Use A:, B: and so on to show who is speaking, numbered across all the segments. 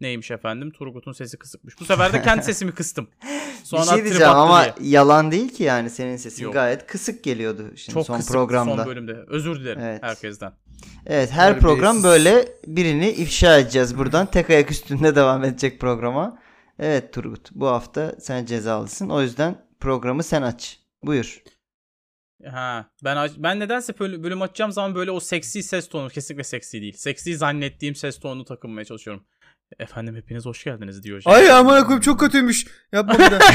A: Neymiş efendim? Turgut'un sesi kısıkmış. Bu sefer de kendi sesimi kıstım. Sonra
B: bir şey
A: trip
B: diyeceğim
A: attı
B: ama
A: diye.
B: yalan değil ki yani senin sesin
A: Yok.
B: gayet kısık geliyordu şimdi
A: çok
B: son
A: kısıktı
B: programda.
A: son bölümde. Özür dilerim
B: Evet.
A: herkesten.
B: Evet her
C: Böyle bir-
B: program böyle birini ifşa edeceğiz buradan. Tek ayak üstünde devam edecek programa. Evet Turgut bu hafta sen cezalısın. O yüzden programı sen aç. Buyur.
A: Ha, ben aç- ben nedense böyle bölüm açacağım zaman böyle o seksi ses tonu kesinlikle seksi değil. Seksi zannettiğim ses tonunu takınmaya çalışıyorum. Efendim hepiniz hoş geldiniz diyor.
C: Şey- Ay amına koyayım çok kötüymüş. Yapma bir daha.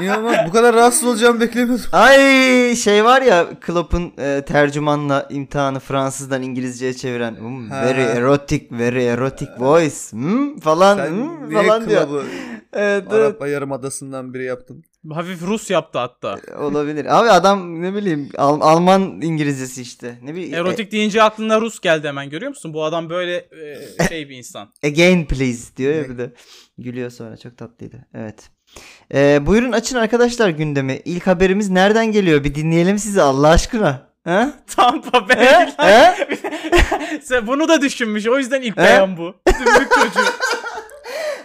C: Ya, İnanılmaz. Bu kadar rahatsız olacağımı beklemiyordum.
B: Ay şey var ya Klopp'un e, tercümanla imtihanı Fransızdan İngilizceye çeviren "Hmm,
C: Ha. Ee,
B: very erotic very erotic voice hmm, falan
C: Sen
B: hmm,
C: niye
B: falan diyor.
C: klabı
B: Evet, evet,
C: Arap Yarımadası'ndan biri yaptın?
A: Hafif Rus yaptı hatta.
B: olabilir. Abi adam ne bileyim Al- Alman İngilizcesi işte. Ne bileyim.
A: Erotik deyince aklına Rus geldi hemen görüyor musun? Bu adam böyle e, şey bir insan.
B: e, again please diyor ya
C: Evet.
B: bir de. Gülüyor sonra çok tatlıydı. Evet. E, buyurun açın arkadaşlar gündemi. İlk haberimiz nereden geliyor? Bir dinleyelim sizi Allah aşkına. Ha?
A: Tampa Bay.
B: He? He?
A: Sen bunu da düşünmüş. O yüzden ilk
B: He?
A: beyan bu. Dümbük çocuğu.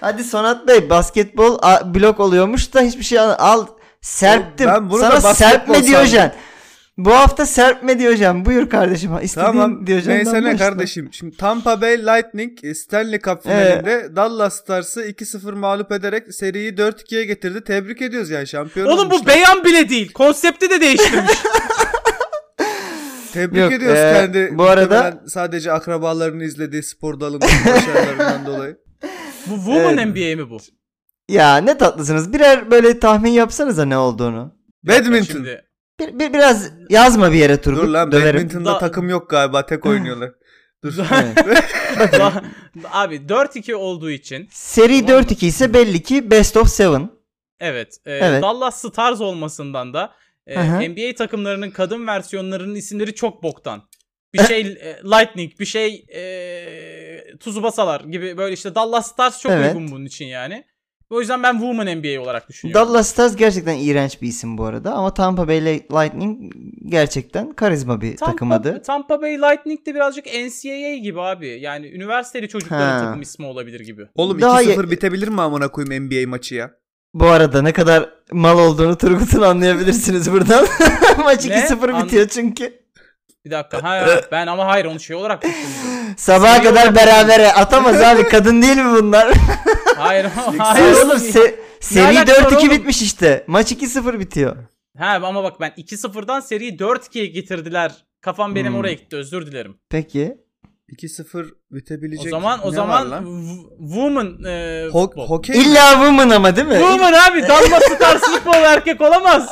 B: Hadi Sonat Bey basketbol a- blok oluyormuş da hiçbir şey al. al. Serptim.
C: Ben bunu da
B: Sana
C: basketbol
B: serpme
C: sandım.
B: Diyojen. Bu hafta serpme Diyojen. Buyur kardeşim. İstediğin
C: Tamam.
B: Diyojen'den
C: Neyse ne
B: başla.
C: kardeşim. Şimdi Tampa Bay Lightning e, Stanley Cup finalinde Dallas Stars'ı 2-0 mağlup ederek seriyi 4-2'ye getirdi. Tebrik ediyoruz yani şampiyon
A: Oğlum bu
C: olmuşlar.
A: beyan bile değil. Konsepti de değiştirmiş.
C: Tebrik
B: Yok,
C: ediyoruz
B: e,
C: kendi.
B: bu arada-
C: muhtemelen sadece akrabalarını izlediği spor dalının başarılarından dolayı.
A: Bu Woman
B: Evet.
A: NBA mi bu?
B: Ya ne tatlısınız. Birer böyle tahmin yapsanıza ne olduğunu.
C: Badminton.
A: Şimdi
B: Bir, bir- biraz yazma bir yere Turgut.
C: Dur lan
B: Döverim.
C: badminton'da
A: Da-
C: takım yok galiba tek oynuyorlar. Dur.
B: Evet.
A: Ba- Abi 4-2 olduğu için
B: Seri
A: Tamam mı?
B: 4-2 ise belli ki best of 7.
A: evet, e,
B: Evet.
A: Dallas Stars olmasından da e,
B: Hı hı.
A: NBA takımlarının kadın versiyonlarının isimleri çok boktan. Bir şey e, Lightning, bir şey e, Tuzubasalar gibi böyle işte Dallas Stars çok
B: Evet.
A: uygun bunun için yani. O yüzden ben Woman NBA olarak düşünüyorum.
B: Dallas Stars gerçekten iğrenç bir isim bu arada ama Tampa Bay Lightning gerçekten karizma bir
A: Tampa,
B: takım adı.
A: Tampa Bay Lightning de birazcık NCAA gibi abi. Yani üniversiteli çocukların
B: Ha.
A: takım ismi olabilir gibi.
C: Oğlum
B: Daha
C: 2-0 bitebilir mi amına koyayım NBA maçı ya?
B: Bu arada ne kadar mal olduğunu Turgut'un anlayabilirsiniz buradan. Maç
A: Ne?
B: 2-0 bitiyor çünkü.
A: Bir dakika. Ha, ben ama hayır onu şey olarak düşündüm.
B: Sabaha
A: Seri
B: kadar
A: olarak-
B: berabere atamaz abi kadın değil mi bunlar?
A: Hayır, hayır.
B: Hayır oğlum se- seri
A: alakası var
B: 4-2
A: oğlum?
B: bitmiş işte. Maç 2-0 bitiyor.
A: Ha ama bak ben 2-0'dan seriyi 4-2'ye getirdiler. Kafam benim
B: Hmm.
A: oraya gitti özür dilerim.
B: Peki.
C: 2-0 bitebilecek
A: O zaman o
C: ne var
A: zaman
C: lan?
A: w- woman e,
C: Ho-
A: futbol.
C: hokey mi?
B: İlla woman ama değil mi?
A: Woman abi dalma stars futbol erkek olamaz.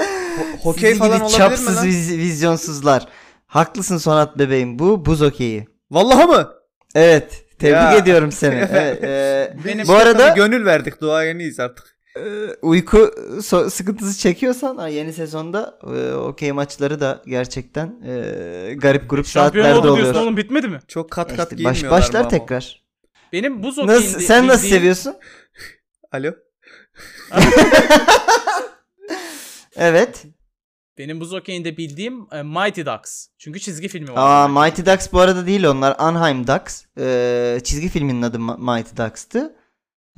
C: Ho-
B: Siz
C: hokey
B: gibi
C: falan olabilir mi
B: çapsız
C: lan?
B: viz- vizyonsuzlar. Haklısın Sonat bebeğim. Bu buz okeyi.
C: Vallahi mı?
B: Evet. Tebrik
C: Ya.
B: ediyorum seni. Evet, e,
A: Benim
B: bu arada
C: Tabii gönül verdik duayeniyiz artık.
B: Ee, uyku so- sıkıntısı çekiyorsan ha, yeni sezonda e, okey maçları da gerçekten e, garip grup
A: Şampiyon
B: saatlerde
A: oldu diyorsun
B: oluyor.
A: oğlum bitmedi mi?
C: Çok kat
B: İşte
C: kat
B: baş,
C: giyinmiyorlar mı
B: başlar
C: ama?
B: tekrar.
A: Benim buz okeyinde
B: Nasıl, sen nasıl
A: bildiğim-
B: seviyorsun?
C: Alo.
B: Ee, Evet.
A: Benim buz okeyinde bildiğim e, Mighty Ducks. Çünkü çizgi filmi var.
B: Aa, Mighty Ducks bu arada değil onlar. Anaheim Ducks. Ee, çizgi filminin adı Ma- Mighty Ducks'tı.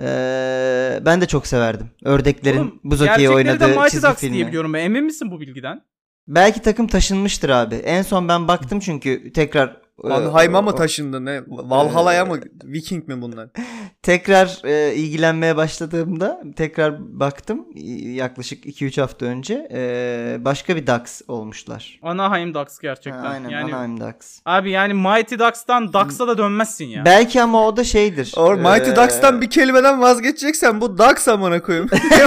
B: Ee, ben de çok severdim. Ördeklerin
A: Oğlum,
B: buz
A: gerçekleri
B: okeyi
A: de
B: oynadığı
A: Mighty
B: çizgi
A: Ducks diye
B: filmi.
A: biliyorum ben. Emin misin bu bilgiden?
B: Belki takım taşınmıştır abi. En son ben baktım çünkü tekrar e,
C: Anheim'a
B: o-
C: mı taşındı ne? Valhalla'ya mı? Viking mi bunlar?
B: tekrar e, ilgilenmeye başladığımda tekrar baktım y- yaklaşık 2-3 hafta önce e, başka bir Dax olmuşlar.
A: Anaheim Ducks gerçekten.
B: Ha, aynen
A: yani
B: Anaheim Dax.
A: Abi yani Mighty Ducks'tan Ducks'a da dönmezsin ya.
B: Belki ama o da şeydir.
C: Or Mighty
B: Ee,
C: Ducks'tan bir kelimeden vazgeçeceksen bu Ducks amına koyayım. Niye-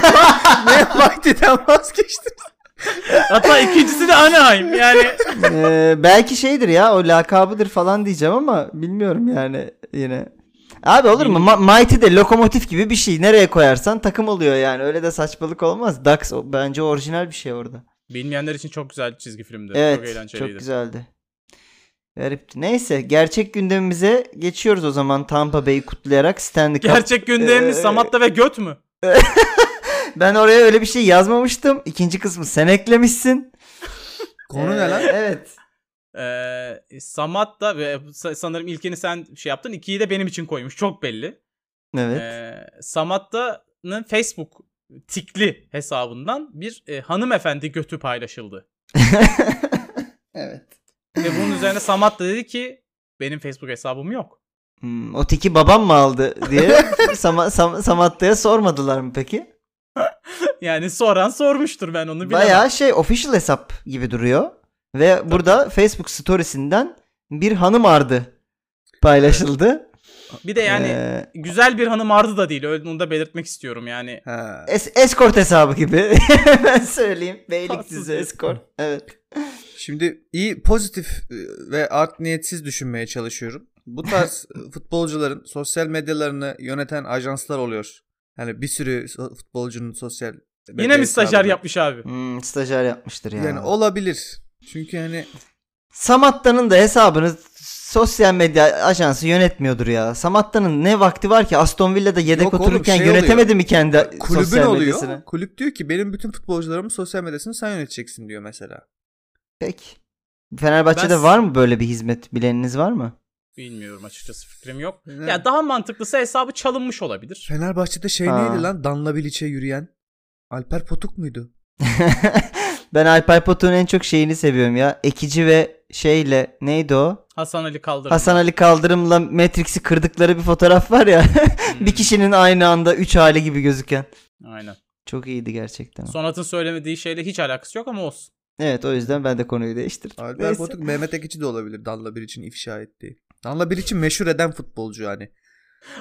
C: Niye Mighty'den vazgeçtin?
A: Ee. Hatta ikincisi de Anaheim. Yani
B: e, belki şeydir ya o lakabıdır falan diyeceğim ama bilmiyorum yani yine. Abi olur mu? Ma- Mighty de lokomotif gibi bir şey. Nereye koyarsan takım oluyor yani. Öyle de saçmalık olmaz. Dax o- bence orijinal bir şey orada.
A: Bilmeyenler için çok güzel çizgi filmdi.
B: Evet,
A: çok
B: çok,
A: eğlenceliydi.
B: güzeldi. Garipti. Neyse gerçek gündemimize geçiyoruz o zaman Tampa Bay'i kutlayarak Stanley Cup.
A: Gerçek gündemimiz
B: Ee,
A: Samatta ve Göt mü?
B: ben oraya öyle bir şey yazmamıştım. İkinci kısmı sen eklemişsin.
C: Konu
B: Ee,
C: ne lan?
B: Evet.
A: Ee, Samat da ve sa- sanırım ilkini sen şey yaptın. ikiyi de benim için koymuş. Çok belli.
B: Evet.
A: Ee, Samat da'nın Facebook tikli hesabından bir e, hanımefendi götü paylaşıldı.
B: evet.
A: Ve bunun üzerine Samat da dedi ki benim Facebook hesabım yok.
B: Hmm, o tiki babam mı aldı diye Sama, Sam, Samatta'ya sormadılar mı peki?
A: Yani soran sormuştur ben onu bilemem.
B: Bayağı şey official hesap gibi duruyor. Ve burada Facebook storiesinden bir hanım ardı paylaşıldı.
A: Bir de yani
B: Ee,
A: güzel bir hanım ardı da değil. Öyle onu da belirtmek istiyorum yani.
C: Ha.
B: es- escort hesabı gibi. ben söyleyeyim.
A: Tatsız
B: Beylikdüzü
A: bir-
B: escort. Evet.
C: Şimdi iyi pozitif e, ve art niyetsiz düşünmeye çalışıyorum. Bu tarz e, futbolcuların sosyal medyalarını yöneten ajanslar oluyor. Yani bir sürü so- futbolcunun sosyal medya
A: Yine mi stajyer
C: hesabını-
A: yapmış abi?
B: Hmm, stajyer yapmıştır ya.
C: Yani olabilir. Çünkü hani
B: Samatta'nın da hesabını sosyal medya ajansı yönetmiyordur ya. Samatta'nın ne vakti var ki Aston Villa'da yedek
C: Yok oğlum,
B: otururken
C: şey
B: yönetemedi
C: oluyor.
B: mi kendi
C: kulübün
B: sosyal
C: oluyor.
B: medyasını?
C: Kulüp diyor ki benim bütün futbolcularımın sosyal medyasını sen yöneteceksin diyor mesela.
B: Peki. Fenerbahçe'de
A: Ben-
B: var mı böyle bir hizmet? Bileniniz var mı?
A: Bilmiyorum açıkçası fikrim yok.
C: Yani
A: Ya daha mantıklısı hesabı çalınmış olabilir.
C: Fenerbahçe'de şey
B: Ha.
C: neydi lan? Danla Bilic'e yürüyen Alper Potuk muydu?
B: ben Alper Potuk'un en çok şeyini seviyorum ya. Ekici ve şeyle neydi o?
A: Hasan Ali kaldırdı.
B: Hasan Ali Kaldırım'la Matrix'i kırdıkları bir fotoğraf var ya.
A: Hmm,
B: bir kişinin aynı anda 3 hali gibi gözüken.
A: Aynen.
B: Çok iyiydi gerçekten. o.
A: Sonat'ın söylemediği şeyle hiç alakası yok ama olsun.
B: Evet o yüzden ben de konuyu değiştirdim.
C: Alper
B: Neyse.
C: Potuk Mehmet Ekici de olabilir Danla Bilic'in ifşa ettiği. Danla Bilic'i meşhur eden futbolcu yani.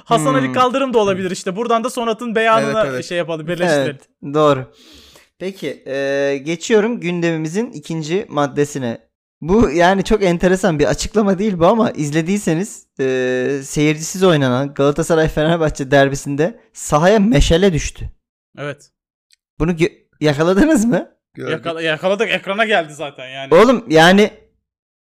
A: Hasan Ali
B: Hmm.
A: Kaldırım da olabilir işte. Buradan da Sonat'ın beyanına
C: Evet, evet.
A: şey yapalım, birleştirelim.
B: Evet, doğru. Peki e, geçiyorum gündemimizin ikinci maddesine. Bu yani çok enteresan bir açıklama değil bu ama izlediyseniz e, seyircisiz oynanan Galatasaray Fenerbahçe derbisinde sahaya meşale düştü.
A: Evet.
B: Bunu gö- yakaladınız mı?
C: Gördük.
A: Yakala- yakaladık. Ekrana geldi zaten yani.
B: Oğlum yani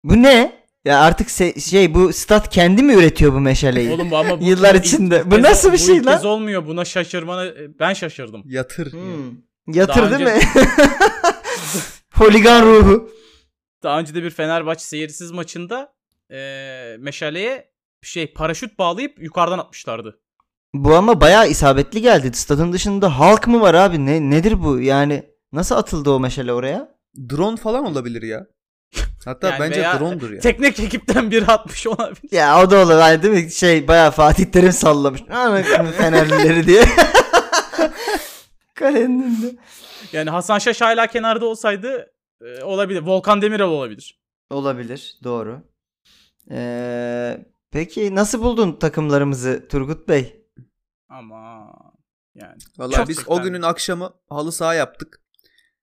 B: bu ne? Ya artık se- şey bu stat kendi mi üretiyor bu meşaleyi?
A: Oğlum bu ama bu-
B: Yıllar
A: ilk
B: içinde. Bu
A: kez-
B: nasıl bir şey
A: ilk
B: lan?
A: kez olmuyor. Buna şaşırmana ben şaşırdım.
C: Yatır.
B: Hmm. Yatır
A: Daha
B: değil mi?
A: önce-
B: Holigan ruhu.
A: Daha önce de bir Fenerbahçe seyirsiz maçında eee meşaleye şey paraşüt bağlayıp yukarıdan atmışlardı.
B: Bu ama bayağı isabetli geldi. Stadın dışında halk mı var abi? Ne nedir bu? Yani nasıl atıldı o meşale oraya?
C: Drone falan olabilir ya. Hatta
A: Yani
C: bence
A: veya-
C: drone'dur ya.
A: Teknik ekipten biri atmış olabilir.
B: Ya o da olabilir değil mi? Şey bayağı Fatih Terim sallamış. Ana Fenerlileri diye. Kalenin önünde.
A: Yani Hasan Şaş hala kenarda olsaydı eee, olabilir. Volkan Demirel olabilir.
B: Olabilir. Doğru. Ee, peki nasıl buldun takımlarımızı Turgut Bey?
A: Ama yani
C: Vallahi
A: Çok
C: biz o
A: sıkıntı.
C: günün akşamı halı saha yaptık.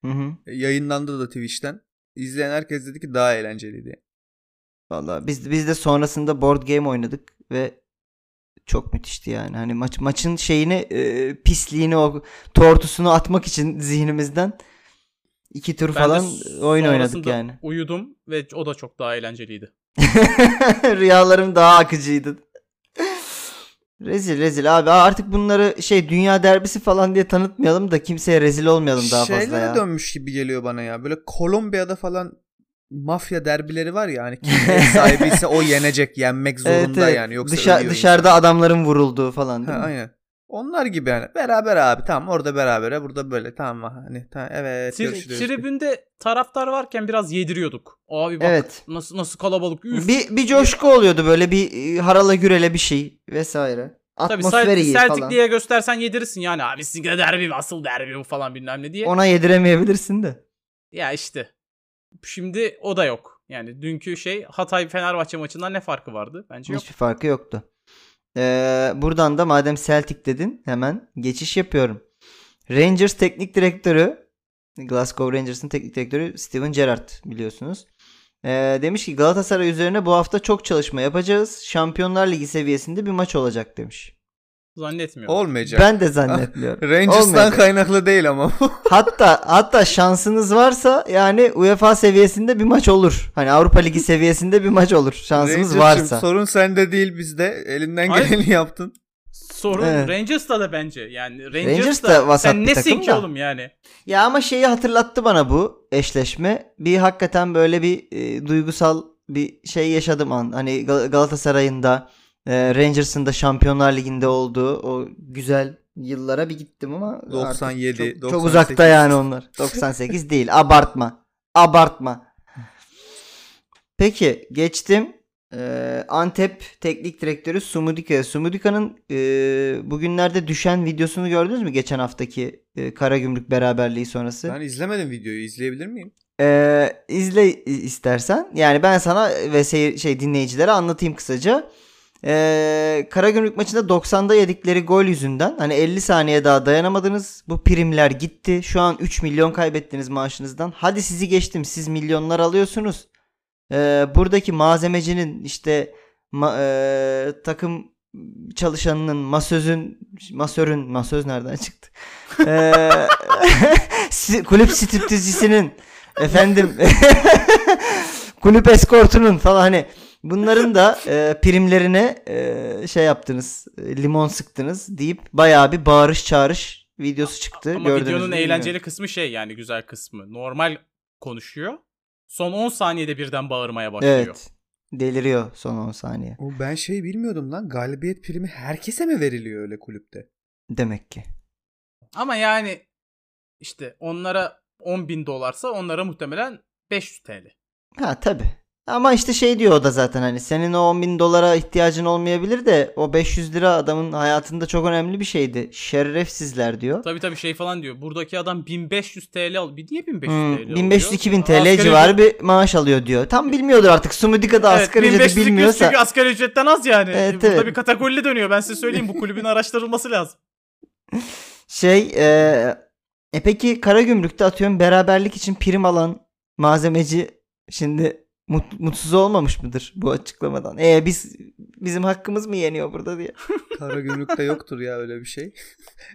C: E,
B: Hı hı.
C: Yayınlandı da Twitch'ten. İzleyen herkes dedi ki daha eğlenceliydi.
B: Vallahi biz biz de sonrasında board game oynadık ve çok müthişti yani. Hani maç maçın şeyini e, pisliğini o tortusunu atmak için zihnimizden iki tur
A: Ben de
B: falan oyun oynadık
A: sonrasında
B: yani.
A: Uyudum ve o da çok daha eğlenceliydi.
B: Rüyalarım daha akıcıydı. rezil rezil abi Aa, artık bunları şey dünya derbisi falan diye tanıtmayalım da kimseye rezil olmayalım daha fazla
C: Şeylere
B: ya.
C: dönmüş gibi geliyor bana ya. Böyle Kolombiya'da falan mafya derbileri var ya hani kim ev sahibi ise o yenecek, yenmek zorunda
B: Evet, evet.
C: yani yoksa
B: Dışa-
C: ölüyor
B: dışarıda adamların vurulduğu falan
C: insan.
B: değil
C: Ha,
B: mi?
C: aynen. Onlar gibi yani. Beraber abi tamam orada berabere burada böyle tamam hani tamam, evet
A: Tri-
C: görüşürüz.
A: tribünde taraftar varken biraz yediriyorduk. Abi bak
B: Evet.
A: nasıl nasıl kalabalık. Üf.
B: Bir, bir coşku oluyordu böyle bir e, harala gürele bir şey vesaire.
A: Tabii
B: Atmosfer
A: Celtic,
B: iyi
A: Celtic
B: falan.
A: diye göstersen yedirirsin yani abi sizinki de derbi mi? asıl derbi bu falan bilmem ne diye.
B: Ona yediremeyebilirsin de.
A: Ya işte. Şimdi o da yok. Yani dünkü şey Hatay Fenerbahçe maçından ne farkı vardı? Bence yok.
B: Hiçbir farkı yoktu. Ee, buradan da madem Celtic dedin hemen geçiş yapıyorum. Rangers teknik direktörü Glasgow Rangers'ın teknik direktörü Steven Gerrard biliyorsunuz. Ee, demiş ki Galatasaray üzerine bu hafta çok çalışma yapacağız. Şampiyonlar Ligi seviyesinde bir maç olacak demiş.
A: Zannetmiyorum.
C: Olmayacak.
B: Ben de zannetmiyorum.
C: Rangers'tan
B: Olmayacak.
C: kaynaklı değil ama.
B: Hatta hatta şansınız varsa yani UEFA seviyesinde bir maç olur. Hani Avrupa Ligi seviyesinde bir maç olur. Şansımız
C: Rangers'cığım,
B: varsa.
C: Sorun sende değil bizde. Elinden
A: Hayır.
C: geleni yaptın.
A: Sorun
B: Evet.
A: Rangers'ta da bence. Yani Rangers'ta
B: Rangers da vasat
A: sen
B: bir
A: nesin
B: takım
A: ki
B: da.
A: oğlum yani?
B: Ya ama şeyi hatırlattı bana bu eşleşme. Bir hakikaten böyle bir e, duygusal bir şey yaşadım an. Hani Gal- Galatasaray'ın da e, Rangers'ın da Şampiyonlar Ligi'nde olduğu o güzel yıllara bir gittim ama artık
C: 97,
B: çok, çok
C: 98.
B: uzakta yani onlar. 98 değil. Abartma. Abartma. Peki geçtim. Ee, Antep Teknik Direktörü Sumudika. Sumudika'nın e, bugünlerde düşen videosunu gördünüz mü geçen haftaki e, Karagümrük beraberliği sonrası?
C: Ben izlemedim videoyu. izleyebilir miyim?
B: Ee, izle i- istersen. Yani ben sana ve seyir, şey dinleyicilere anlatayım kısaca. Ee, Karagümrük maçında 90'da yedikleri gol yüzünden hani 50 saniye daha dayanamadınız. Bu primler gitti. Şu an 3 milyon kaybettiniz maaşınızdan. Hadi sizi geçtim. Siz milyonlar alıyorsunuz. Ee, buradaki malzemecinin işte ma- ee, takım çalışanının, masözün, masörün, masöz nereden çıktı? Ee, si- kulüp striptizcisinin efendim kulüp eskortunun falan hani bunların da e, primlerine e, şey yaptınız e, limon sıktınız deyip bayağı bir bağırış çağırış videosu çıktı.
A: Ama
B: Gördünüz
A: videonun
B: mü
A: eğlenceli
B: bilmiyorum.
A: kısmı şey yani güzel kısmı. Normal konuşuyor. Son 10 saniyede birden bağırmaya başlıyor.
B: Evet. Deliriyor son 10 saniye.
C: O ben şey bilmiyordum lan. Galibiyet primi herkese mi veriliyor öyle kulüpte?
B: Demek ki.
A: Ama yani işte onlara 10 bin dolarsa onlara muhtemelen 500 TL.
B: Ha tabi. Ama işte şey diyor o da zaten hani senin o 10 bin dolara ihtiyacın olmayabilir de o 500 lira adamın hayatında çok önemli bir şeydi. Şerefsizler diyor.
A: Tabii tabii şey falan diyor. Buradaki adam 1500 TL al. Bir niye 1500
B: Hmm,
A: TL
B: 1500-2000 TL
A: alıyor?
B: civarı bir maaş alıyor diyor. Tam bilmiyordur artık. Sumudika'da
A: Evet,
B: asgari ücreti
A: 1500
B: bilmiyorsa.
A: Çünkü asgari ücretten az yani.
B: Evet,
A: Burada
B: evet.
A: bir katakulli dönüyor. Ben size söyleyeyim bu kulübün araştırılması lazım.
B: Şey e, e peki Karagümrük'te atıyorum beraberlik için prim alan malzemeci şimdi mut- mutsuz olmamış mıdır bu açıklamadan? E biz bizim hakkımız mı yeniyor burada diye.
C: Karagümrük'te yoktur ya öyle bir şey.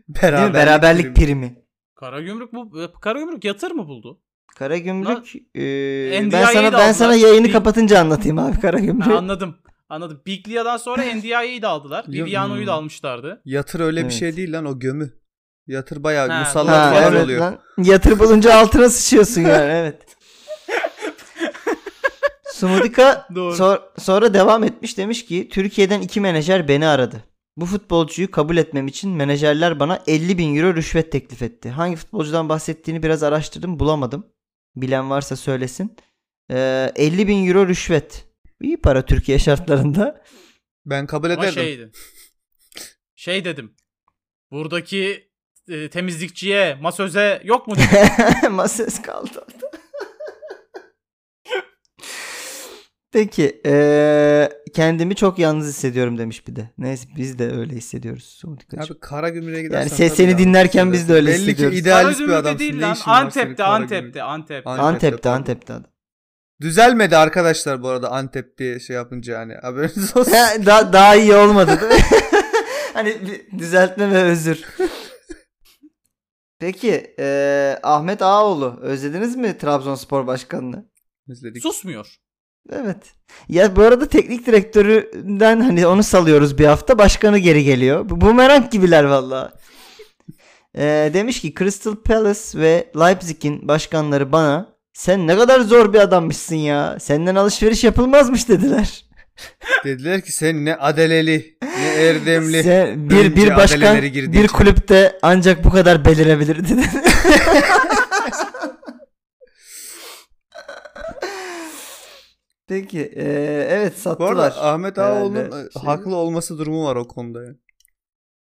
B: Değil mi? Beraberlik primi.
A: Karagümrük bu e, Karagümrük yatır mı buldu?
B: Karagümrük e, ben
A: NDI'yi de
B: sana ben sana
A: aldılar.
B: yayını
A: Bir-
B: kapatınca anlatayım abi
A: Ha,
B: Karagümrük.
A: anladım. Anladım. Biglia'dan sonra NDI'yi de aldılar.
C: Yok,
A: Viviano'yu da
C: hmm.
A: almışlardı.
C: Yatır öyle
B: Evet.
C: bir şey değil lan o gömü. Yatır bayağı
A: Ha,
C: musallat
A: doğru.
C: falan
A: evet
C: oluyor.
B: lan. Yatır bulunca altına sıçıyorsun yani evet. Sumudika
A: Doğru.
B: Sor- sonra devam etmiş demiş ki Türkiye'den iki menajer beni aradı. Bu futbolcuyu kabul etmem için menajerler bana 50 bin euro rüşvet teklif etti. Hangi futbolcudan bahsettiğini biraz araştırdım bulamadım. Bilen varsa söylesin. Ee, 50 bin euro rüşvet. İyi para Türkiye şartlarında.
C: Ben kabul
A: Ama
C: ederdim.
A: şeydi. Şey dedim. Buradaki e, temizlikçiye, masöze yok mu dedim.
B: Masöz kaldı. Peki ee, kendimi çok yalnız hissediyorum demiş bir de. Neyse biz de öyle hissediyoruz. Sumudikacığım.
C: Abi Karagümrük'e gidersen
B: Yani ses
C: tabii
B: seni
C: ya.
B: dinlerken biz de öyle
C: Belli ki
B: hissediyoruz.
C: idealist bir
A: Karagümrük'te
C: adamsın.
A: değil
C: Ne
A: lan.
C: işin var senin
A: Antep'te, Antep'te,
C: Karagümrük'te?
A: Antep'te.
C: Antep.
B: Antep'te
C: yapalım.
B: Antep'te adam.
C: Düzelmedi arkadaşlar bu arada Antep diye şey yapınca hani haberiniz olsun.
B: Ha, da, daha iyi olmadı değil mi? hani bir düzeltme ve özür. Peki eee, Ahmet Ağaoğlu özlediniz mi Trabzonspor Başkanı'nı?
C: İzledik.
A: Susmuyor.
B: Evet. Ya bu arada teknik direktöründen hani onu salıyoruz bir hafta. Başkanı geri geliyor. Bu bumerang gibiler valla. Ee, demiş ki Crystal Palace ve Leipzig'in başkanları bana sen ne kadar zor bir adammışsın ya. Senden alışveriş yapılmazmış dediler.
C: Dediler ki sen ne adeleli ne erdemli.
B: Sen- bir bir
C: Önce
B: başkan
C: adaleleri girdiği
B: bir
C: için.
B: kulüpte ancak bu kadar belirebilir dediler. Peki, ee, evet
C: bu
B: sattılar.
C: arada Ahmet Ağaoğlu'nun
B: Herhalde
C: e,
B: şey-
C: haklı olması durumu var o konuda. yani.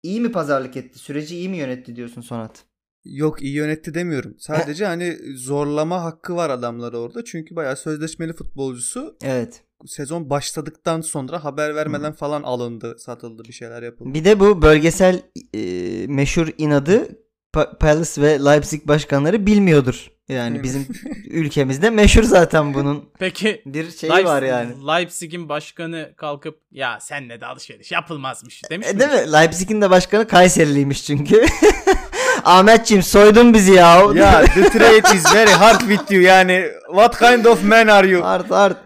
B: İyi mi pazarlık etti? Süreci iyi mi yönetti diyorsun Sonat?
C: Yok iyi yönetti demiyorum. Sadece hani zorlama hakkı var adamlara orada. Çünkü bayağı sözleşmeli futbolcusu
B: Evet.
C: sezon başladıktan sonra haber vermeden falan alındı, satıldı, bir şeyler yapıldı.
B: Bir de bu bölgesel e, meşhur inadı Pa- Palace ve Leipzig başkanları bilmiyordur. Yani
C: Aynen.
B: bizim ülkemizde meşhur zaten bunun
A: Peki
B: bir şeyi
A: Leipzig-
B: Şey var yani.
A: Leipzig'in başkanı kalkıp ya senle de alışveriş yapılmazmış demiş
B: E,
A: mi?
B: değil mi? Leipzig'in de başkanı Kayseriliymiş çünkü. Ahmetciğim soydun bizi ya.
C: Ya the trade is very hard with you. Yani what kind of man are you?
B: Art art.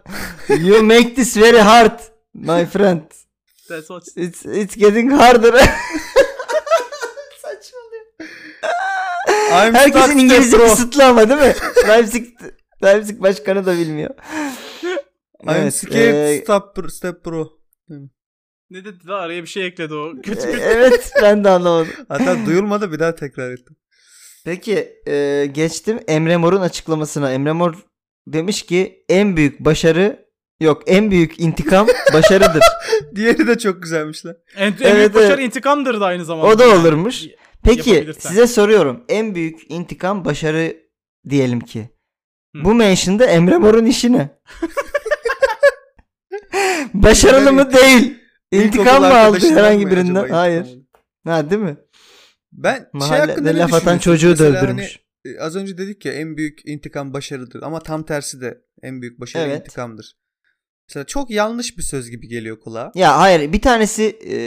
B: You make this very hard my friend.
A: That's what
B: It's, it's getting harder. Saçmalıyor.
C: I'm
B: Herkesin
C: stuck,
B: İngilizce
C: bro.
B: kısıtlı ama değil mi? Leipzig, Leipzig başkanı da bilmiyor.
C: I'm
B: Evet,
C: scared
B: e,
C: step, bro- step bro.
A: ne dedi daha araya bir şey ekledi o. Kötü
B: e,
A: kötü.
B: evet ben de anlamadım.
C: Hatta duyulmadı bir daha tekrar ettim.
B: Peki e, geçtim Emre Mor'un açıklamasına. Emre Mor demiş ki en büyük başarı yok en büyük intikam başarıdır.
C: Diğeri de çok güzelmiş lan.
A: En, en büyük
B: evet.
A: başarı intikamdır da aynı zamanda.
B: O da olurmuş. Peki
A: Yapabilirsen.
B: size soruyorum en büyük intikam başarı diyelim ki.
A: Hı.
B: Bu mention'da Emre Mor'un işi ne? Başarılı mı değil? İntikam
C: İlkokul
B: mı aldı
C: arkadaşından
B: herhangi
C: mı
B: birinden?
C: acaba
B: Hayır.
C: intikam aldı?
B: Ha değil mi?
C: Ben şey hakkında
B: Mahallede
C: ne
B: laf atan
C: düşünüyorsun?
B: çocuğu da
C: Mesela hani,
B: öldürmüş.
C: e, az önce dedik ya en büyük intikam başarıdır ama tam tersi de en büyük başarı
B: Evet.
C: intikamdır. Mesela çok yanlış bir söz gibi geliyor kulağa.
B: Ya hayır bir tanesi e,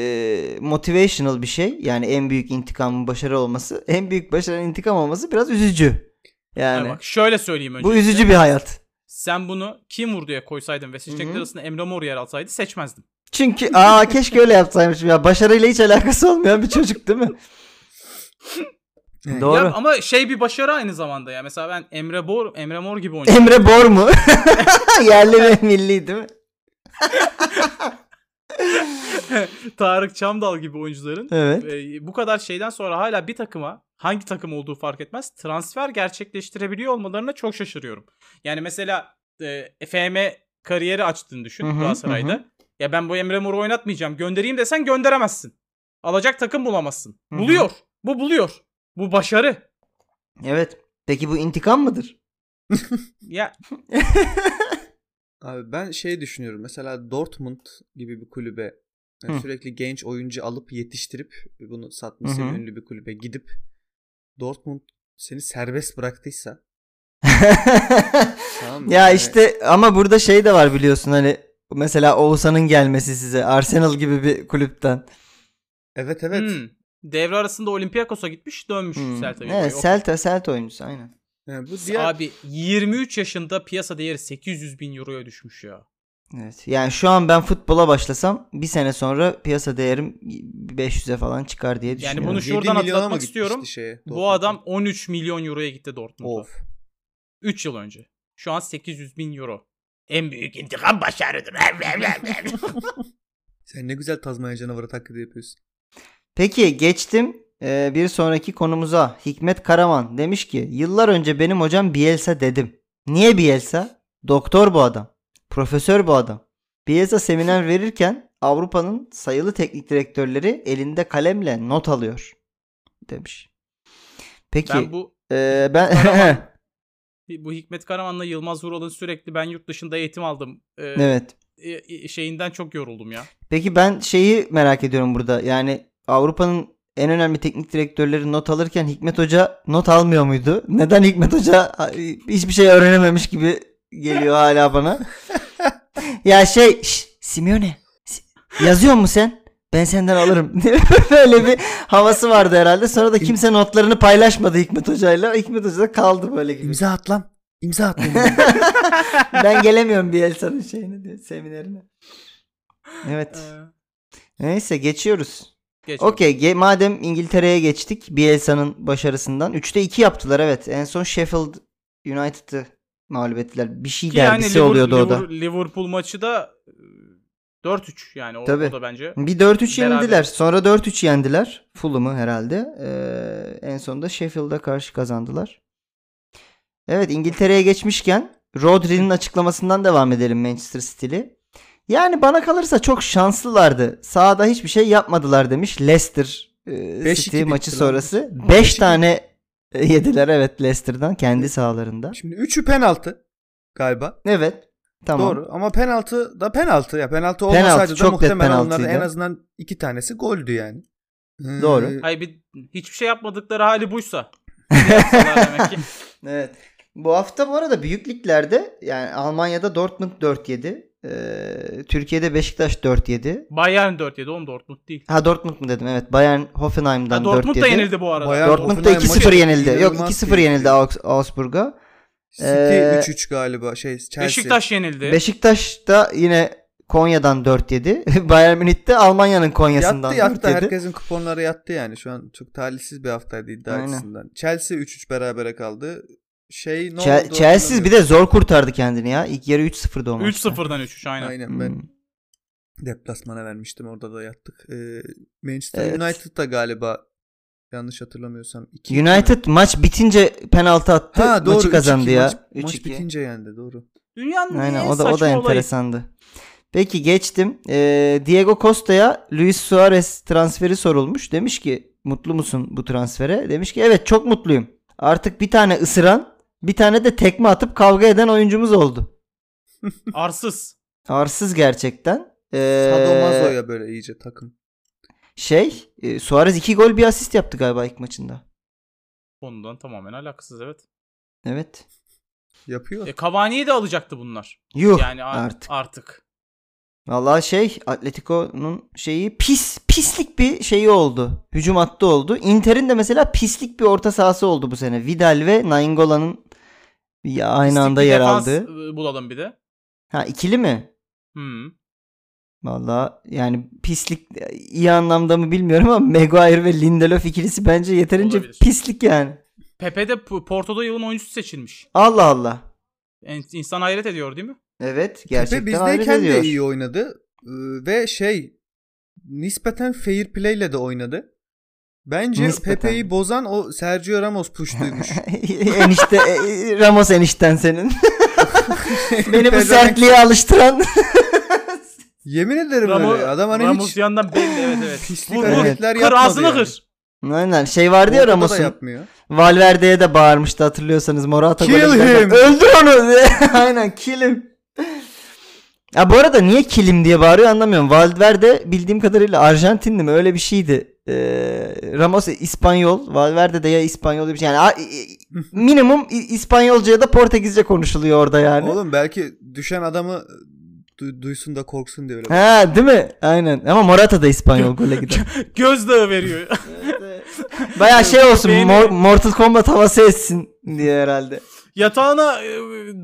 B: motivational bir şey. Yani en büyük intikamın başarı olması. En büyük başarının intikam olması biraz üzücü.
A: Yani
B: Yani
A: bak şöyle söyleyeyim önce.
B: bu üzücü bir hayat.
A: Sen bunu kim vurduya koysaydın ve seçenekler
B: Hı hı.
A: arasında Emre Mor yer alsaydı seçmezdim.
B: Çünkü aa keşke öyle yapsaymışım ya. Başarıyla hiç alakası olmayan bir çocuk değil mi?
C: Evet.
B: Doğru.
A: Ya ama şey bir başarı aynı zamanda ya. Mesela ben Emre Bor, Emre Mor gibi oynuyorum.
B: Emre Bor mu? Yerli ve milli değil mi?
A: Tarık Çamdal gibi oyuncuların
B: Evet.
A: e, bu kadar şeyden sonra hala bir takıma hangi takım olduğu fark etmez transfer gerçekleştirebiliyor olmalarına çok şaşırıyorum. Yani mesela e, FM kariyeri açtığını düşün
B: Hı hı,
A: Galatasaray'da.
B: hı
A: Ya ben bu Emre Mor'u oynatmayacağım göndereyim desen gönderemezsin. Alacak takım bulamazsın.
B: Hı hı.
A: Buluyor. Bu buluyor. Bu başarı.
B: Evet. Peki bu intikam mıdır?
A: Ya
C: Abi ben şey düşünüyorum. Mesela Dortmund gibi bir kulübe yani
B: Hı.
C: sürekli genç oyuncu alıp yetiştirip e, bunu satması
B: Hı hı.
C: ünlü bir kulübe gidip Dortmund seni serbest bıraktıysa tamam mı?
B: ya
C: Yani
B: işte ama burada şey de var biliyorsun hani mesela Oğuzhan'ın gelmesi size Arsenal gibi bir kulüpten.
C: Evet evet.
A: hmm. devre arasında Olympiakos'a gitmiş dönmüş
B: Hmm.
A: Celta'ya.
B: Evet,
A: Yok.
B: Celta Celta oyuncusu aynen.
C: Yani bu diğer
A: Abi 23 yaşında piyasa değeri 800 bin euroya düşmüş ya.
B: Evet. Yani şu an ben futbola başlasam bir sene sonra piyasa değerim 500'e falan çıkar diye düşünüyorum.
A: bunu şu-
C: 7
A: şuradan
C: milyona mı
A: atlatmak
C: gitmişti
A: istiyorum.
C: şeye,
A: Bu
C: Dortmund'a?
A: adam 13 milyon euroya gitti Dortmund'a.
C: of.
A: 3 yıl önce. Şu an 800 bin euro. En büyük intikam başarıdır.
C: Sen ne güzel Tazmanya canavarı taklidi yapıyorsun.
B: Peki geçtim Ee, bir sonraki konumuza. Hikmet Karaman demiş ki yıllar önce benim hocam Bielsa dedim. Niye Bielsa? Doktor bu adam. Profesör bu adam. Bielsa seminer verirken Avrupa'nın sayılı teknik direktörleri elinde kalemle not alıyor demiş. Peki
A: ben bu
B: ee, ben
A: Karaman- bu Hikmet Karaman'la Yılmaz Vural'ın sürekli ben yurt dışında eğitim aldım e,
B: evet.
A: e, e, şeyinden çok yoruldum ya.
B: Peki ben şeyi merak ediyorum burada. Yani Avrupa'nın en önemli teknik direktörleri not alırken Hikmet Hoca not almıyor muydu? Neden Hikmet Hoca hiçbir şey öğrenememiş gibi geliyor hala bana? ya şey, şş, Simeone si- yazıyor mu sen? Ben senden alırım. böyle bir havası vardı herhalde. Sonra da kimse notlarını paylaşmadı Hikmet Hoca'yla. Hikmet Hoca da kaldı böyle gibi.
C: İmza at lan. İmza at.
B: ben gelemiyorum Bielsa'nın şeyine, diye, seminerine. Evet. Neyse geçiyoruz.
A: E, Geç.
B: Okey ge- madem İngiltere'ye geçtik Bielsa'nın başarısından. 3'te 2 yaptılar evet. En son Sheffield United'ı mağlup ettiler. Bir şey
A: Ki
B: derbisi
A: Liver-
B: oluyordu o da.
A: Liver- Liverpool maçı da e, 4-3 yani o,
B: Tabii.
A: o da bence.
B: Bir 4-3
A: Beraber.
B: yendiler. Sonra 4-3 yendiler. Fulham'ı herhalde. Ee, en sonunda Sheffield'a karşı kazandılar. Evet İngiltere'ye geçmişken Rodri'nin açıklamasından devam edelim Manchester City'li. Yani bana kalırsa çok şanslılardı. Sahada hiçbir şey yapmadılar demiş Leicester e,
C: 5-2
B: City
C: bitti
B: maçı
C: lan.
B: sonrası. 5
C: 5-2
B: tane e, yediler evet Leicester'dan kendi sahalarında.
C: Şimdi üçü penaltı galiba.
B: Evet. Tamam.
C: Doğru ama penaltı da penaltı ya penaltı
B: Penaltı,
C: olmasaydı da
B: çok net
C: muhtemelen onlardan en
B: penaltıydı.
C: azından iki tanesi goldü yani. Ee,
B: Doğru.
A: Hayır bir, hiçbir şey yapmadıkları hali buysa. Yapsalar demek ki.
B: Evet. Bu hafta bu arada büyük liglerde yani Almanya'da Dortmund 4-7. eee, Türkiye'de Beşiktaş 4-7.
A: Bayern 4-7 oğlum Dortmund değil.
B: Ha Dortmund mu dedim evet. Bayern Hoffenheim'dan
A: Ha, Dortmund
B: 4-7.
A: da yenildi bu arada.
C: Bayağı-
B: Dortmund da
C: Hoffenheim
B: 2-0
C: maçı
B: yenildi. Yok
C: inanılmaz
B: 2-0 yenildi Augs- Augsburg'a.
C: City
B: Ee,
C: 3-3 galiba şey Chelsea.
A: Beşiktaş yenildi.
B: Beşiktaş da yine Konya'dan 4 yedi. Bayern Münih de Almanya'nın Konya'sından
C: Yattı yattı.
B: 4 yedi.
C: Herkesin kuponları yattı yani. Şu an çok talihsiz bir haftaydı iddia
B: Aynen.
C: açısından. Chelsea 3-3 berabere kaldı. Şey ne
B: Chel-
C: oldu?
B: Chelsea bir de zor kurtardı kendini ya. İlk yarı 3-0'da o maçta.
A: 3-0'dan 3-3 aynen.
C: Aynen
B: Hmm.
C: ben deplasmana vermiştim. Orada da yattık. Ee, Manchester
B: Evet.
C: United da galiba yanlış hatırlamıyorsam. iki-
B: United maç bitince penaltı attı.
C: ha, doğru,
B: maçı kazandı
C: 3-2.
B: ya.
C: Maç, maç
B: 3-2.
C: bitince yendi doğru.
A: Dünyanın
B: Aynen
A: en
B: o da
A: saçma
B: o da
A: olayı.
B: enteresandı. Peki geçtim. Ee, Diego Costa'ya Luis Suarez transferi sorulmuş. Demiş ki mutlu musun bu transfere? Demiş ki evet çok mutluyum. Artık bir tane ısıran bir tane de tekme atıp kavga eden oyuncumuz oldu.
A: Arsız.
B: Arsız gerçekten. Ee,
C: Sadomaso'ya böyle iyice takım.
B: Şey e, Suarez iki gol bir asist yaptı galiba ilk maçında.
A: Konudan tamamen alakasız evet.
B: Evet.
C: Yapıyor.
A: E, Cavani'yi de alacaktı bunlar.
B: Yuh
A: yani ar-
B: artık.
A: artık. artık.
B: Vallahi şey Atletico'nun şeyi pis pislik bir şeyi oldu. Hücum hattı oldu. Inter'in de mesela pislik bir orta sahası oldu bu sene. Vidal ve Nainggolan'ın ya aynı
A: Pislik
B: anda
A: bir
B: yer
A: defans,
B: aldığı.
A: e, Bulalım bir de.
B: Ha ikili mi?
A: Hmm.
B: Vallahi yani pislik iyi anlamda mı bilmiyorum ama Maguire ve Lindelof ikilisi bence yeterince
A: Olabilir.
B: pislik yani.
A: Pepe de P- Porto'da yılın oyuncusu seçilmiş.
B: Allah Allah.
A: En- İnsan hayret ediyor değil mi?
B: Evet
C: Tepe
B: gerçekten hayret
C: bizdeyken de
B: ediyor.
C: iyi oynadı. Ee, Ve şey nispeten fair play ile de oynadı. Bence
B: Nispeten.
C: Pepe'yi bozan o Sergio Ramos puştuymuş.
B: Enişte e, Ramos enişten senin. Beni bu
C: Pezevenk-
B: sertliğe alıştıran
C: Yemin ederim
A: Ramo-
C: öyle. Adam hani
A: Ramos
C: hiç
A: yandan belli evet evet.
C: Pislik
A: Vur, vur.
B: Evet.
C: hareketler
A: Kır
C: yapmadı.
A: ağzını
C: yani.
A: kır.
B: Aynen şey vardı ya
C: Ortada da
B: Ramos'un.
C: yapmıyor.
B: Valverde'ye de bağırmıştı hatırlıyorsanız Morata
C: Kill
B: golü bilemez.
C: him.
B: Öldür onu. Aynen kill him. Ya bu arada niye kilim diye bağırıyor anlamıyorum. Valverde bildiğim kadarıyla Arjantinli mi öyle bir şeydi. Ee, Ramos İspanyol, Valverde de ya İspanyol bir şey. Yani a- i- i- minimum İ- İspanyolca ya da Portekizce konuşuluyor orada yani.
C: Oğlum belki düşen adamı e, du- duysun da korksun diye öyle.
B: Ha değil mi? Aynen. Ama Morata da İspanyol gole gider.
A: Gözdağı veriyor.
B: Baya şey olsun.
A: Beğeni-
B: Mor- Mortal Kombat havası etsin diye herhalde.
A: Yatağına e,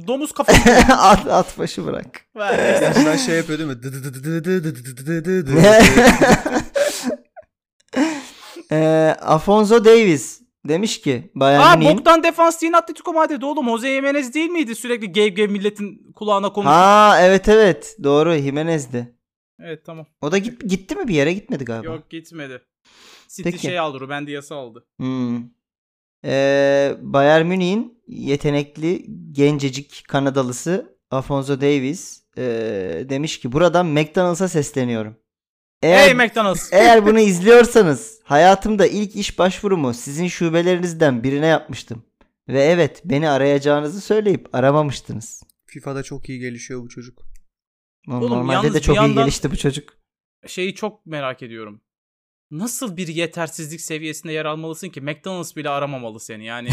A: domuz kafası.
B: at, at başı bırak.
A: Ver, neyse.
C: Yaşından şey yapıyor değil mi? Dı dı dı dı dı dı dı dı dı dı dı dı.
B: Eee Ee, Afonso Davis demiş ki Bayern
A: Aa
B: Münih'in
A: boktan defans değil Atletico Madrid oğlum. Jose Jimenez değil miydi? Sürekli gev gev milletin kulağına konuşuyor.
B: Ha evet evet doğru Jimenez'di.
A: Evet tamam.
B: O da git, gitti mi bir yere gitmedi galiba.
A: Yok gitmedi. City
B: Peki.
A: şey aldı. Ben Diaz'ı aldı.
B: Hmm. Eee, Bayern Münih'in yetenekli gencecik Kanadalısı Afonso Davis eee, demiş ki buradan McDonald's'a sesleniyorum. Eğer
A: Hey McDonald's.
B: Eğer bunu izliyorsanız hayatımda ilk iş başvurumu sizin şubelerinizden birine yapmıştım. Ve evet beni arayacağınızı söyleyip aramamıştınız.
C: FIFA'da çok iyi gelişiyor bu çocuk.
A: Oğlum,
B: Normalde
A: yalnız
B: de
A: bir
B: çok iyi
A: yandan-
B: gelişti bu çocuk.
A: Şeyi çok merak ediyorum. Nasıl bir yetersizlik seviyesinde yer almalısın ki? McDonald's bile aramamalı seni yani.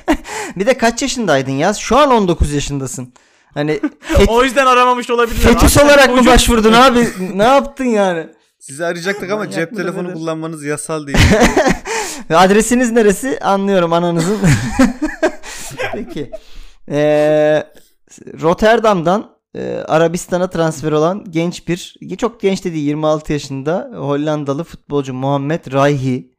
B: bir de kaç yaşındaydın ya? Şu an 19 yaşındasın. Hani
A: o yüzden aramamış olabilirler.
B: fetüs
A: Hakikaten
B: olarak mı
A: çocuk-
B: başvurdun abi? ne yaptın yani?
C: Sizi arayacaktık ama
B: Manyak
C: cep
B: mıdır
C: telefonu
B: nedir?
C: kullanmanız yasal değil.
B: Ve adresiniz neresi? Anlıyorum ananızın. Peki. Ee, Rotterdam'dan e, Arabistan'a transfer olan genç bir, çok genç dediği 26 yaşında Hollandalı futbolcu Muhammed Raihi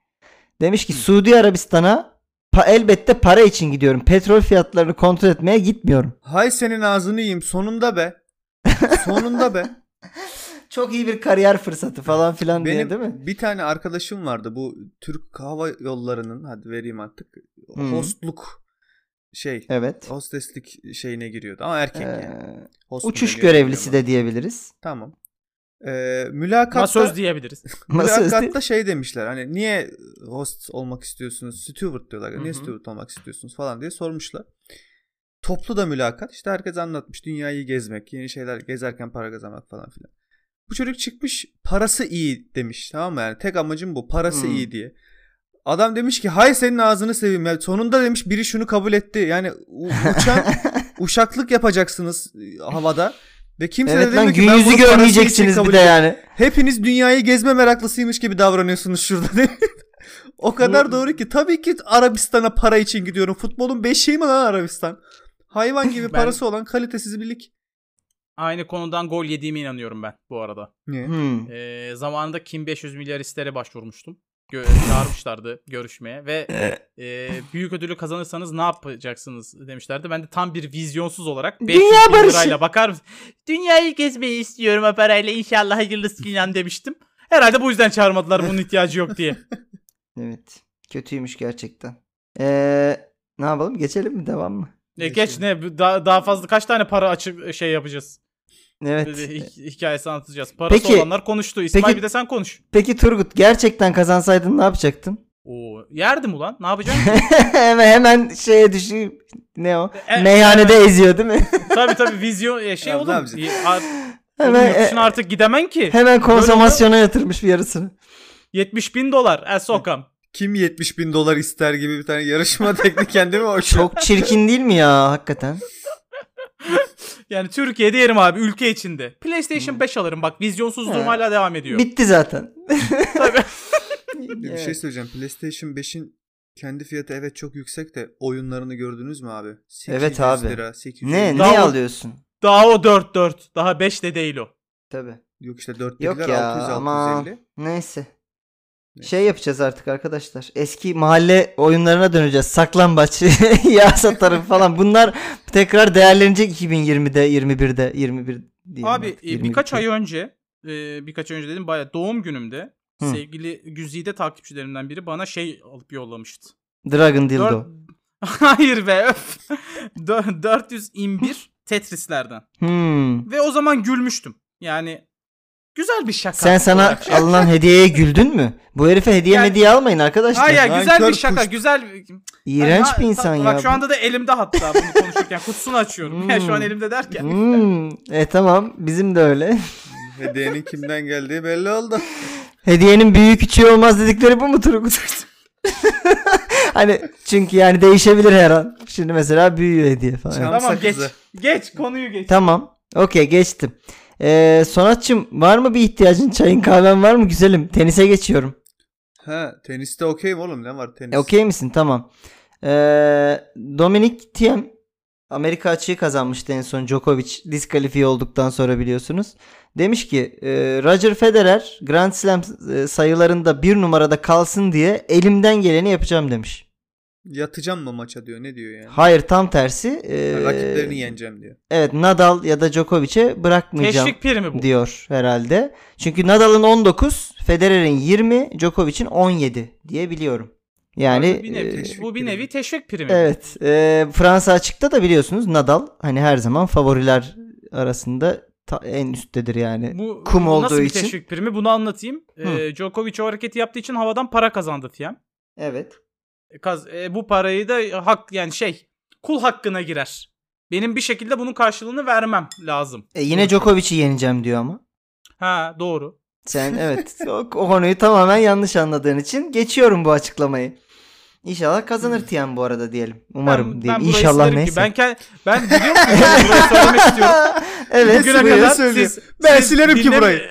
B: demiş ki Suudi Arabistan'a pa- elbette para için gidiyorum. Petrol fiyatlarını kontrol etmeye gitmiyorum.
C: Hay senin ağzını yiyeyim sonunda be. Sonunda be.
B: Çok iyi bir kariyer fırsatı falan filan
C: Benim
B: diye değil mi?
C: bir tane arkadaşım vardı bu Türk Hava Yolları'nın hadi vereyim artık.
B: Hı.
C: Hostluk şey.
B: Evet.
C: Hosteslik şeyine giriyordu ama erkek
B: Ee,
C: yani. Host mu
B: uçuş
C: deniyor
B: görevlisi
C: bilmiyorum
B: de diyebiliriz.
C: ama. Tamam. Ee, mülakatta...
A: Masöz diyebiliriz.
B: Masaüstü.
C: Mülakatta şey demişler hani niye host olmak istiyorsunuz? Steward diyorlar. Niye
A: Hı hı.
C: steward olmak istiyorsunuz falan diye sormuşlar. Toplu da mülakat. İşte herkes anlatmış. Dünyayı gezmek, yeni şeyler gezerken para kazanmak falan filan. Bu çocuk çıkmış parası iyi demiş. Tamam mı? Yani tek amacım bu. Parası
B: Hı.
C: iyi diye. Adam demiş ki hay senin ağzını seveyim. Yani sonunda demiş biri şunu kabul etti. Yani u- uçan uşaklık yapacaksınız e, havada. Ve kimse
B: Evet
C: de
B: lan
C: demiyor ki
B: gün
C: ben
B: yüzü
C: bunu parası için
B: görmeyeceksiniz
C: kabul
B: bir de
C: ediyorum.
B: yani.
C: Hepiniz dünyayı gezme meraklısıymış gibi davranıyorsunuz şurada değil mi? O kadar doğru ki. Tabii ki Arabistan'a para için gidiyorum. Futbolun beşiği mi lan Arabistan? Hayvan gibi
A: Ben-
C: parası olan kalitesiz bir lig.
A: aynı konudan gol yediğime inanıyorum ben bu arada.
C: Niye?
B: Hmm.
A: Ee, zamanında Kim 500 milyar istere başvurmuştum. Gö- çağırmışlardı görüşmeye ve e, büyük ödülü kazanırsanız ne yapacaksınız demişlerdi. Ben de tam bir vizyonsuz olarak 500
B: Dünya
A: bin
B: barışı.
A: lirayla bakar dünyayı gezmeyi istiyorum o parayla inşallah hayırlısı filan demiştim. Herhalde bu yüzden çağırmadılar bunun ihtiyacı yok diye.
B: Evet. Kötüymüş gerçekten. Ee, ne yapalım? Geçelim mi? Devam mı?
A: E, geç ne daha, daha fazla kaç tane para açık şey yapacağız.
B: Evet.
A: Hikayesi hikayesi anlatacağız. Parası
B: Peki-
A: olanlar konuştu. İsmail
B: peki-
A: bir de sen konuş.
B: Peki Turgut gerçekten kazansaydın ne yapacaktın?
A: Oo, yerdim ulan. Ne yapacaksın?
B: hemen hemen şeye düşeyim. Ne o?
A: E,
B: Meyhanede eziyor değil mi?
A: tabii tabii vizyon e, şey
C: Ya, ne
A: oğlum.
C: yapacaksın?
A: e, ar-
B: hemen
A: Yurt dışına
B: e,
A: artık gidemen ki.
B: hemen konsomasyona yatırmış bir yarısını.
A: 70 bin dolar. E sokam.
C: Kim 70 bin dolar ister gibi bir tane yarışma tekniği kendime hoş.
B: Çok çirkin değil mi ya hakikaten?
A: Yani Türkiye'de yerim abi. Ülke içinde. PlayStation
B: Hmm.
A: 5 alırım. Bak vizyonsuzluğum
B: Evet.
A: hala devam ediyor.
B: Bitti zaten.
A: Tabii.
C: Bir şey söyleyeceğim. PlayStation 5'in kendi fiyatı evet çok yüksek de oyunlarını gördünüz mü abi? 800
B: Evet abi.
C: Lira, 800
B: ne
C: lira.
A: Daha
B: ne
A: o-
B: alıyorsun?
A: Daha o 4 4. Daha 5 de değil o.
B: Tabii.
C: Yok işte 4
B: Yok
C: dediler
B: ya,
C: 600
B: ama-
C: 650.
B: Neyse.
C: Ne?
B: Şey yapacağız artık arkadaşlar. Eski mahalle oyunlarına döneceğiz. Saklambaç, yağsa tarafı falan. Bunlar tekrar değerlenecek 2020'de, 21'de, 21 diyelim
A: Abi
B: artık,
A: e,
B: 22'de.
A: birkaç ay önce e, birkaç ay önce dedim bayağı doğum günümde
B: Hı.
A: sevgili güzide takipçilerimden biri bana şey alıp yollamıştı.
B: Dragon Dildo.
A: Dört- Hayır be öf. Dö- 401 Tetris'lerden.
B: Hmm.
A: Ve o zaman gülmüştüm. Yani güzel bir şaka.
B: Sen sana
A: olarak şey-
B: alınan hediyeye güldün mü? Bu herife hediye
A: Yani-
B: hediye almayın arkadaşlar.
A: Hayır
C: Lan
A: güzel
C: kör
A: bir şaka
C: kuş.
A: güzel.
B: İğrenç
A: Ha,
B: bir insan
A: ta-
B: ya.
A: Bak şu anda da elimde hatta bunu konuşurken kutusunu açıyorum. Yani şu an
B: Hmm.
A: elimde derken.
B: Hmm. E tamam bizim de öyle.
C: Hediyenin kimden geldiği belli oldu.
B: Hediyenin büyük küçüğü olmaz dedikleri bu mu Turgut? hani çünkü yani değişebilir her an. Şimdi mesela büyüyor hediye falan.
C: Çam
A: Tamam geç.
C: sakızı.
A: Geç konuyu geç.
B: Tamam. Okey geçtim. Ee, Sonatçım var mı bir ihtiyacın? Çayın kahven var mı güzelim? Tenise geçiyorum.
C: Ha teniste okeyim oğlum ne var tenis?
B: E, Okey misin? Tamam. Ee, Dominic Thiem Amerika açığı kazanmıştı en son Djokovic diskalifiye olduktan sonra biliyorsunuz. Demiş ki e, Roger Federer Grand Slam e, sayılarında bir numarada kalsın diye elimden geleni yapacağım demiş.
C: Yatacağım mı maça diyor ne diyor yani?
B: Hayır tam tersi. e,
C: Rakiplerini yeneceğim diyor.
B: Evet Nadal ya da Djokovic'e bırakmayacağım
A: Teşvik piri mi bu?
B: diyor herhalde. Çünkü Nadal'ın 19, Federer'in 20, Djokovic'in 17 diye biliyorum. Yani
A: Abi bir nevi
B: e,
A: teşvik bu bir nevi teşvik primi.
B: Evet. e, Fransa açıkta da biliyorsunuz Nadal hani her zaman favoriler arasında ta- en üsttedir yani.
A: Bu,
B: Kum
A: bu
B: olduğu
A: nasıl bir
B: için.
A: teşvik primi bunu anlatayım. Ee, Djokovic o hareketi yaptığı için havadan para kazandı Tiem.
B: Evet.
A: Kaz, e, bu parayı da hak yani şey kul hakkına girer. Benim bir şekilde bunun karşılığını vermem lazım.
B: E, yine Djokovic'i yeneceğim diyor ama.
A: Ha doğru.
B: Sen evet o, o konuyu tamamen yanlış anladığın için geçiyorum bu açıklamayı. İnşallah kazanır Tiyan bu arada diyelim. Umarım
A: ben,
B: diyeyim.
A: ben burayı
B: İnşallah
A: silerim ki.
B: neyse.
A: Ben, ke- ben biliyor musun? Ben burayı söylemek istiyorum.
B: evet.
A: Bugüne
B: buyur.
A: kadar
C: söylüyor.
A: siz,
C: Ben
A: siz
C: silerim ki
A: dinleme-
C: burayı.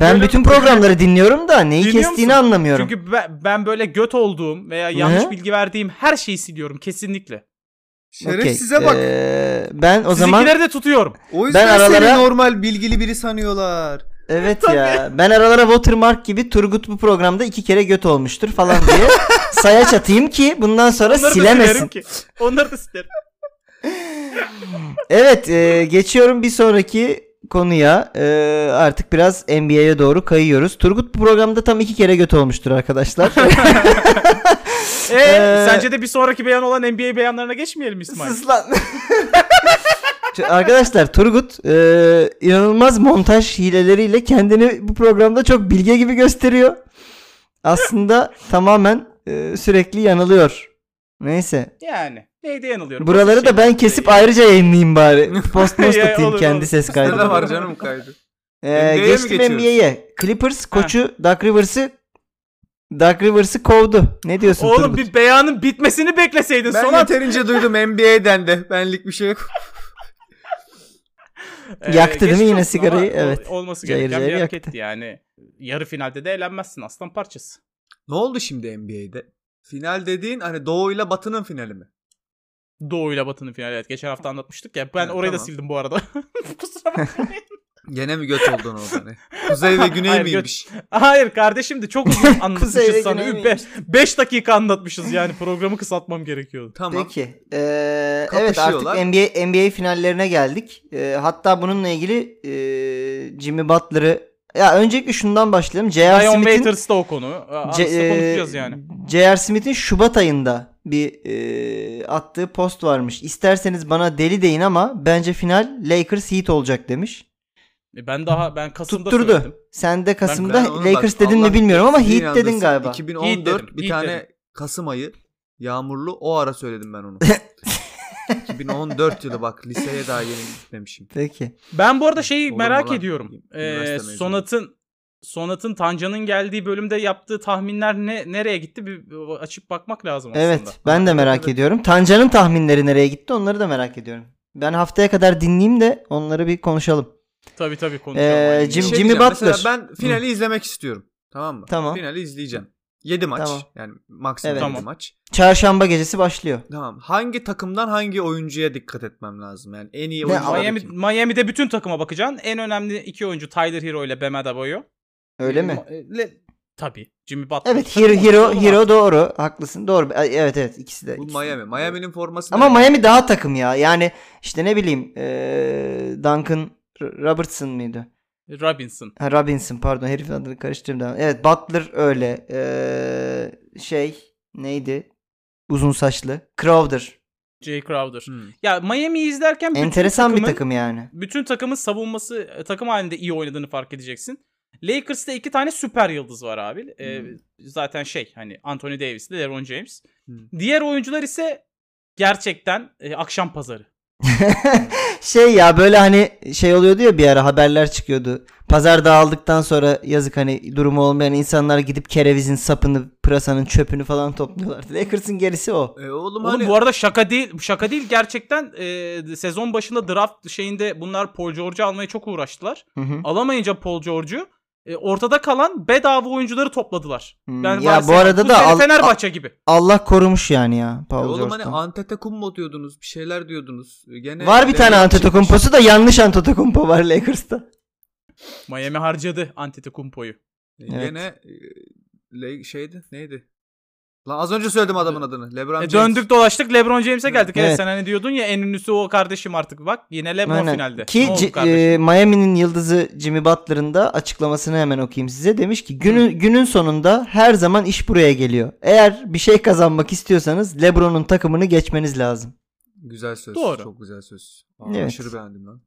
B: Ben
A: Böyle-
B: bütün programları dinliyorum da neyi
A: Dinliyor
B: kestiğini
A: musun?
B: anlamıyorum.
A: Çünkü ben, ben böyle göt olduğum veya yanlış
B: Hı?
A: bilgi verdiğim her şeyi siliyorum kesinlikle.
C: Şeref
B: Okey,
C: size bak.
B: ee, ben o zaman
A: Sizinkileri de tutuyorum.
C: o yüzden
B: ben aralara-
C: seni normal bilgili biri sanıyorlar.
B: Evet ya. Ben aralara watermark gibi Turgut bu programda iki kere göt olmuştur falan diye sayaç atayım ki bundan sonra
A: Onları da silerim
B: silemesin.
A: ki. Onları da silerim.
B: Evet e, geçiyorum bir sonraki konuya. E, artık biraz NBA'ye doğru kayıyoruz. Turgut bu programda tam iki kere göt olmuştur arkadaşlar.
A: Ee,
B: Ee,
A: sence de bir sonraki beyan olan NBA beyanlarına geçmeyelim İsmail.
B: Sus lan. Ç- Arkadaşlar Turgut e, inanılmaz montaj hileleriyle kendini bu programda çok bilge gibi gösteriyor. Aslında tamamen e, sürekli yanılıyor. Neyse.
A: Yani. Neyde yanılıyorum?
B: Buraları
A: şey
B: da ben kesip ayrıca yayınlayayım bari. Post post
A: Ya,
B: atayım
A: olur,
B: kendi
A: olur.
B: ses
C: Ne
B: kaydını.
C: var canım kaydı.
B: Ee,
C: NBA'ye mi
B: geçtim
C: geçiyoruz?
B: NBA'ye. Clippers koçu Doug Rivers'ı Doug Rivers'ı kovdu. Ne diyorsun
A: Oğlum
B: Turgut?
A: bir beyanın bitmesini bekleseydin.
C: Ben
A: Sonat.
C: yeterince duydum NBA'den de. Benlik bir şey yok.
A: Ee,
B: Yaktı değil mi
A: geçmiş
B: yine
A: olsun
B: sigarayı?
A: ama
B: Evet.
A: ol- olması
B: Cayır
A: gereken
B: cayır
A: bir
B: yaktı.
A: hareketti yani. Yarı finalde de eğlenmezsin aslan parçası.
C: Ne oldu şimdi NBA'de? Final dediğin hani doğuyla batının finali mi?
A: Doğuyla Batı'nın finali. Evet geçen hafta anlatmıştık ya. Ben
C: Evet,
A: orayı da
C: tamam.
A: sildim bu arada. Kusura bakmayın.
C: Gene mi göt oldun o hani? Kuzey ve güney
A: Hayır, göt-
C: miymiş?
A: Hayır kardeşim de çok uzun
B: Kuzey ve
A: anlatmışız sana.
B: güney
A: 5 dakika anlatmışız yani. Programı kısaltmam gerekiyordu.
C: Tamam.
B: Peki. Ee, evet artık
C: Kapışıyorlar.
B: NBA, NBA finallerine geldik. Ee, hatta bununla ilgili ee, Jimmy Butler'ı ya öncelikle şundan başlayalım. J.R.
A: Zion
B: Smith'in
A: Waiters da o konu. Arasında
B: C- ee,
A: konuşacağız yani.
B: J.R. Smith'in Şubat ayında bir ee, attığı post varmış. İsterseniz bana deli deyin ama bence final Lakers Heat olacak demiş.
A: E ben daha ben Kasım'da
B: Tutturdu.
A: söyledim.
B: Sen de Kasım'da
C: Ben- ben-
B: Lakers dedin
C: Allah
B: mi bilmiyorum ama
C: Sizin
B: Heat dedin
C: yanındasın.
B: galiba.
C: 2014
A: Heat dedim,
C: bir
A: Heat
C: tane Kasım ayı yağmurlu o ara söyledim ben onu. 2014 yılı bak liseye daha yeni gitmemişim.
B: Peki.
A: Ben bu arada şeyi
C: Olur mu
A: merak
C: lan?
A: ediyorum. Ee,
C: Üniversite mezunu.
A: Sonat'ın Sonat'ın Tanca'nın geldiği bölümde yaptığı tahminler ne nereye gitti? Bir bir açıp bakmak lazım aslında.
B: Evet ben de merak ediyorum. Tancan'ın tahminleri nereye gitti onları da merak ediyorum. Ben haftaya kadar dinleyeyim de onları bir konuşalım.
A: Tabii tabii konuşalım.
B: Ee,
A: Aynen.
B: Jim-
A: Şey-
B: Jimmy
C: diyeceğim, mesela
B: Butler.
C: ben finali izlemek istiyorum. Tamam mı?
B: Tamam.
C: Finali izleyeceğim. 7 maç
B: Tamam.
C: yani maksimum
B: Evet.
C: yedi
A: Tamam.
C: maç.
B: Çarşamba gecesi başlıyor.
C: Tamam. Hangi takımdan hangi oyuncuya dikkat etmem lazım? Yani en
B: Ne,
C: iyi oyuncu
A: Miami, Miami'de bütün takıma bakacaksın. En önemli iki oyuncu Tyler Hero ile Bam Adebayo.
B: Öyle mi?
A: Ma- e, Le- tabii. Jimmy Butler.
B: Evet
A: Takım
B: Hero Hero,
A: oyuncuları var.
B: Hero doğru. Haklısın. Doğru. E, Evet evet ikisi de.
C: Bu
B: ikisi de.
C: Miami. Miami'nin forması
B: Ama
C: ne?
B: Miami daha takım ya. Yani işte ne bileyim ee, Duncan R- Robertson mıydı?
A: Robinson.
B: Ha, Robinson pardon herifin adını karıştırdım. da. Evet Butler öyle. Ee, şey neydi? Uzun saçlı. Crowder.
A: Jay Crowder.
C: Hmm.
A: Ya Miami'yi izlerken bütün
B: Enteresan bir
A: takımın-
B: takım yani.
A: Bütün takımın savunması e, takım halinde iyi oynadığını fark edeceksin. Lakers'ta iki tane süper yıldız var abi. E,
C: Hmm.
A: Zaten şey hani Anthony Davis ile LeBron James.
C: Hmm.
A: Diğer oyuncular ise gerçekten e, akşam pazarı.
B: şey ya böyle hani şey oluyordu ya bir ara haberler çıkıyordu. Pazar dağıldıktan sonra yazık hani durumu olmayan insanlar gidip kerevizin sapını, pırasanın çöpünü falan topluyorlardı. Lakers'ın gerisi o.
C: E,
A: Oğlum
C: oğlum, hani
A: bu arada şaka değil. Şaka değil gerçekten e, sezon başında draft şeyinde bunlar Paul George'u almaya çok uğraştılar.
B: Hı hı.
A: Alamayınca Paul George'u e, ortada kalan bedava oyuncuları topladılar.
B: Hmm,
A: Yani
B: ya bu
A: Barcelona,
B: arada da
A: Tuchel,
B: al-
A: Fenerbahçe gibi.
B: Allah korumuş yani ya
C: E
B: Paul
C: oğlum hani
B: George'dan.
C: Antetokounmpo diyordunuz, bir şeyler diyordunuz. E, Gene
B: var bir tane
C: Lebron çıkmış.
B: Antetokounmpo'su da yanlış Antetokounmpo var Lakers'ta.
A: Miami harcadı Antetokounmpo'yu.
C: E,
B: Evet.
C: Gene e, Le- şeydi, neydi? Lan az önce söyledim adamın adını. LeBron
A: E,
C: James.
A: döndük dolaştık LeBron James'e geldik. Evet.
B: Evet.
A: sen hani diyordun ya en ünlüsü o kardeşim artık bak yine LeBron
B: Aynen.
A: finalde.
B: Ki
A: ne oldu
B: C-
A: kardeşim?
B: e, Miami'nin yıldızı Jimmy Butler'ın da açıklamasını hemen okuyayım size. Demiş ki günün, günün sonunda her zaman iş buraya geliyor. Eğer bir şey kazanmak istiyorsanız LeBron'un takımını geçmeniz lazım.
C: Güzel söz.
A: Doğru.
C: Çok güzel söz. Aa,
B: Evet.
C: Aşırı beğendim lan.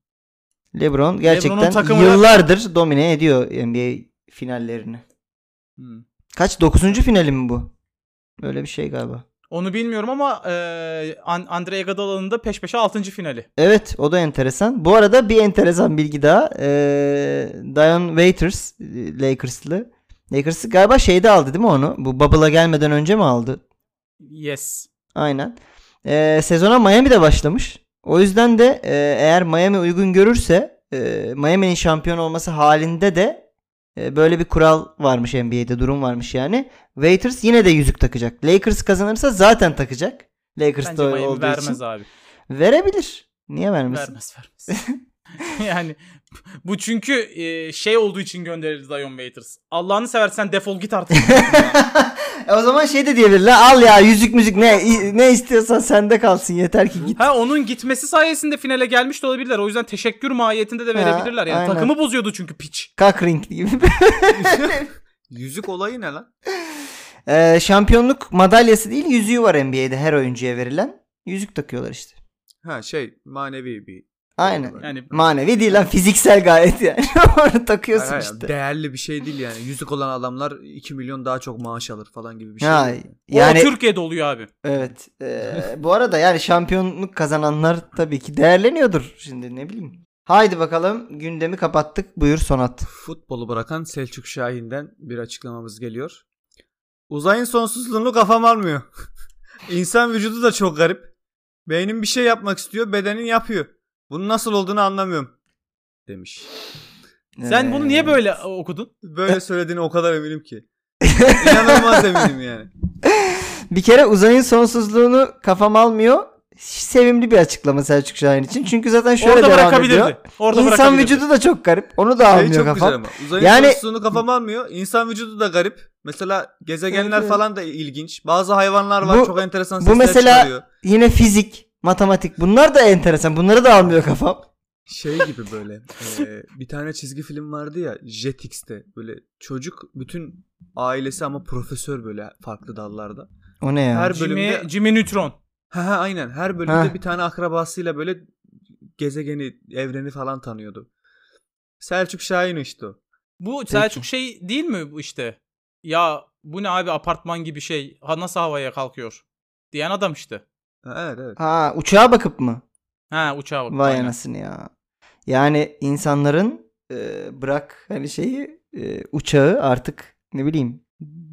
B: LeBron gerçekten
A: takımı-
B: yıllardır domine ediyor NBA finallerini.
A: Hmm.
B: Kaç? Dokuzuncu finali mi bu? Öyle bir şey galiba.
A: Onu bilmiyorum ama e, An- Andrea Gadala'nın da peş peşe 6. finali.
B: Evet o da enteresan. Bu arada bir enteresan bilgi daha. Ee, Dion Waiters e, Lakers'lı. Lakers galiba şeyde aldı değil mi onu? Bu Bubble'a gelmeden önce mi aldı?
A: Yes.
B: Aynen. Ee, sezona Miami'de başlamış. O yüzden de e, eğer Miami uygun görürse e, Miami'nin şampiyon olması halinde de e, böyle bir kural varmış NBA'de durum varmış yani. Waiters yine de yüzük takacak. Lakers kazanırsa zaten takacak. Lakers
A: Bence
B: da
A: Miami
B: olduğu
A: vermez
B: için.
A: abi.
B: Verebilir. Niye vermesin?
A: Vermez vermez. yani bu çünkü e, şey olduğu için gönderildi Dion Waiters. Allah'ını seversen defol git artık.
B: E o zaman şey de diyebilir la al ya yüzük müzik ne i- ne istiyorsan sende kalsın yeter ki git.
A: ha onun gitmesi sayesinde finale gelmiş de olabilirler. O yüzden teşekkür mahiyetinde de
B: Ha,
A: verebilirler. Yani
B: aynen.
A: takımı bozuyordu çünkü piç.
B: Kak ring gibi.
C: Yüzük olayı ne lan?
B: E, şampiyonluk madalyası değil yüzüğü var NBA'de her oyuncuya verilen. Yüzük takıyorlar işte.
C: Ha şey manevi bir.
B: Aynen.
C: Hayır,
A: Yani
B: Manevi değil lan fiziksel gayet yani. Onu takıyorsun
C: hayır,
B: işte.
C: Değerli bir şey değil yani. Yüzük olan adamlar 2 milyon daha çok maaş alır falan gibi bir şey.
B: Ha,
C: değil.
B: yani
A: o Türkiye'de oluyor abi.
B: evet. E, bu arada yani şampiyonluk kazananlar tabii ki değerleniyordur şimdi ne bileyim. Haydi bakalım gündemi kapattık. Buyur Sonat.
C: Futbolu bırakan Selçuk Şahin'den bir açıklamamız geliyor. Uzayın sonsuzluğunu kafam almıyor. İnsan vücudu da çok garip. Beynin bir şey yapmak istiyor, bedenin yapıyor. Bunun nasıl olduğunu anlamıyorum demiş.
A: Sen bunu niye
B: Ee,
A: böyle okudun?
C: Böyle söylediğine o kadar eminim ki. İnanılmaz eminim yani.
B: Bir kere uzayın sonsuzluğunu kafam almıyor. sevimli bir açıklama Selçuk Şahin için. Çünkü zaten şöyle
A: Orada
B: devam
A: bırakabilirdi.
B: ediyor.
A: Orada
B: İnsan
A: bırakabilirdi.
B: vücudu da çok garip. Onu da
C: Şey
B: almıyor
C: çok güzel
B: kafam.
C: ama. Uzayın
B: Yani-
C: sorusunu kafam almıyor. İnsan vücudu da garip. Mesela
B: Evet,
C: gezegenler
B: evet.
C: falan da ilginç. Bazı hayvanlar var
B: Bu-
C: çok enteresan
B: bu
C: sesler
B: mesela-
C: çıkarıyor.
B: Yine fizik, matematik bunlar da enteresan. Bunları da almıyor kafam.
C: Şey gibi böyle e, bir tane çizgi film vardı ya Jetix'te böyle çocuk bütün ailesi ama profesör böyle farklı dallarda.
B: O ne ya?
C: Her
A: Jimmy,
C: bölümde
A: Jimmy Neutron.
C: ha, ha, aynen her bölümde
B: Ha.
C: bir tane akrabasıyla böyle gezegeni evreni falan tanıyordu. Selçuk Şahin işte o.
A: Bu Selçuk şey değil mi bu işte? Ya bu ne abi apartman gibi şey. Ha, nasıl havaya kalkıyor? Diyen adam işte.
C: Ha, Evet evet.
B: Ha, uçağa bakıp mı?
A: Ha uçağa bak.
B: Vay
A: aynen.
B: anasını ya. Yani insanların e, bırak hani şeyi e, uçağı artık ne bileyim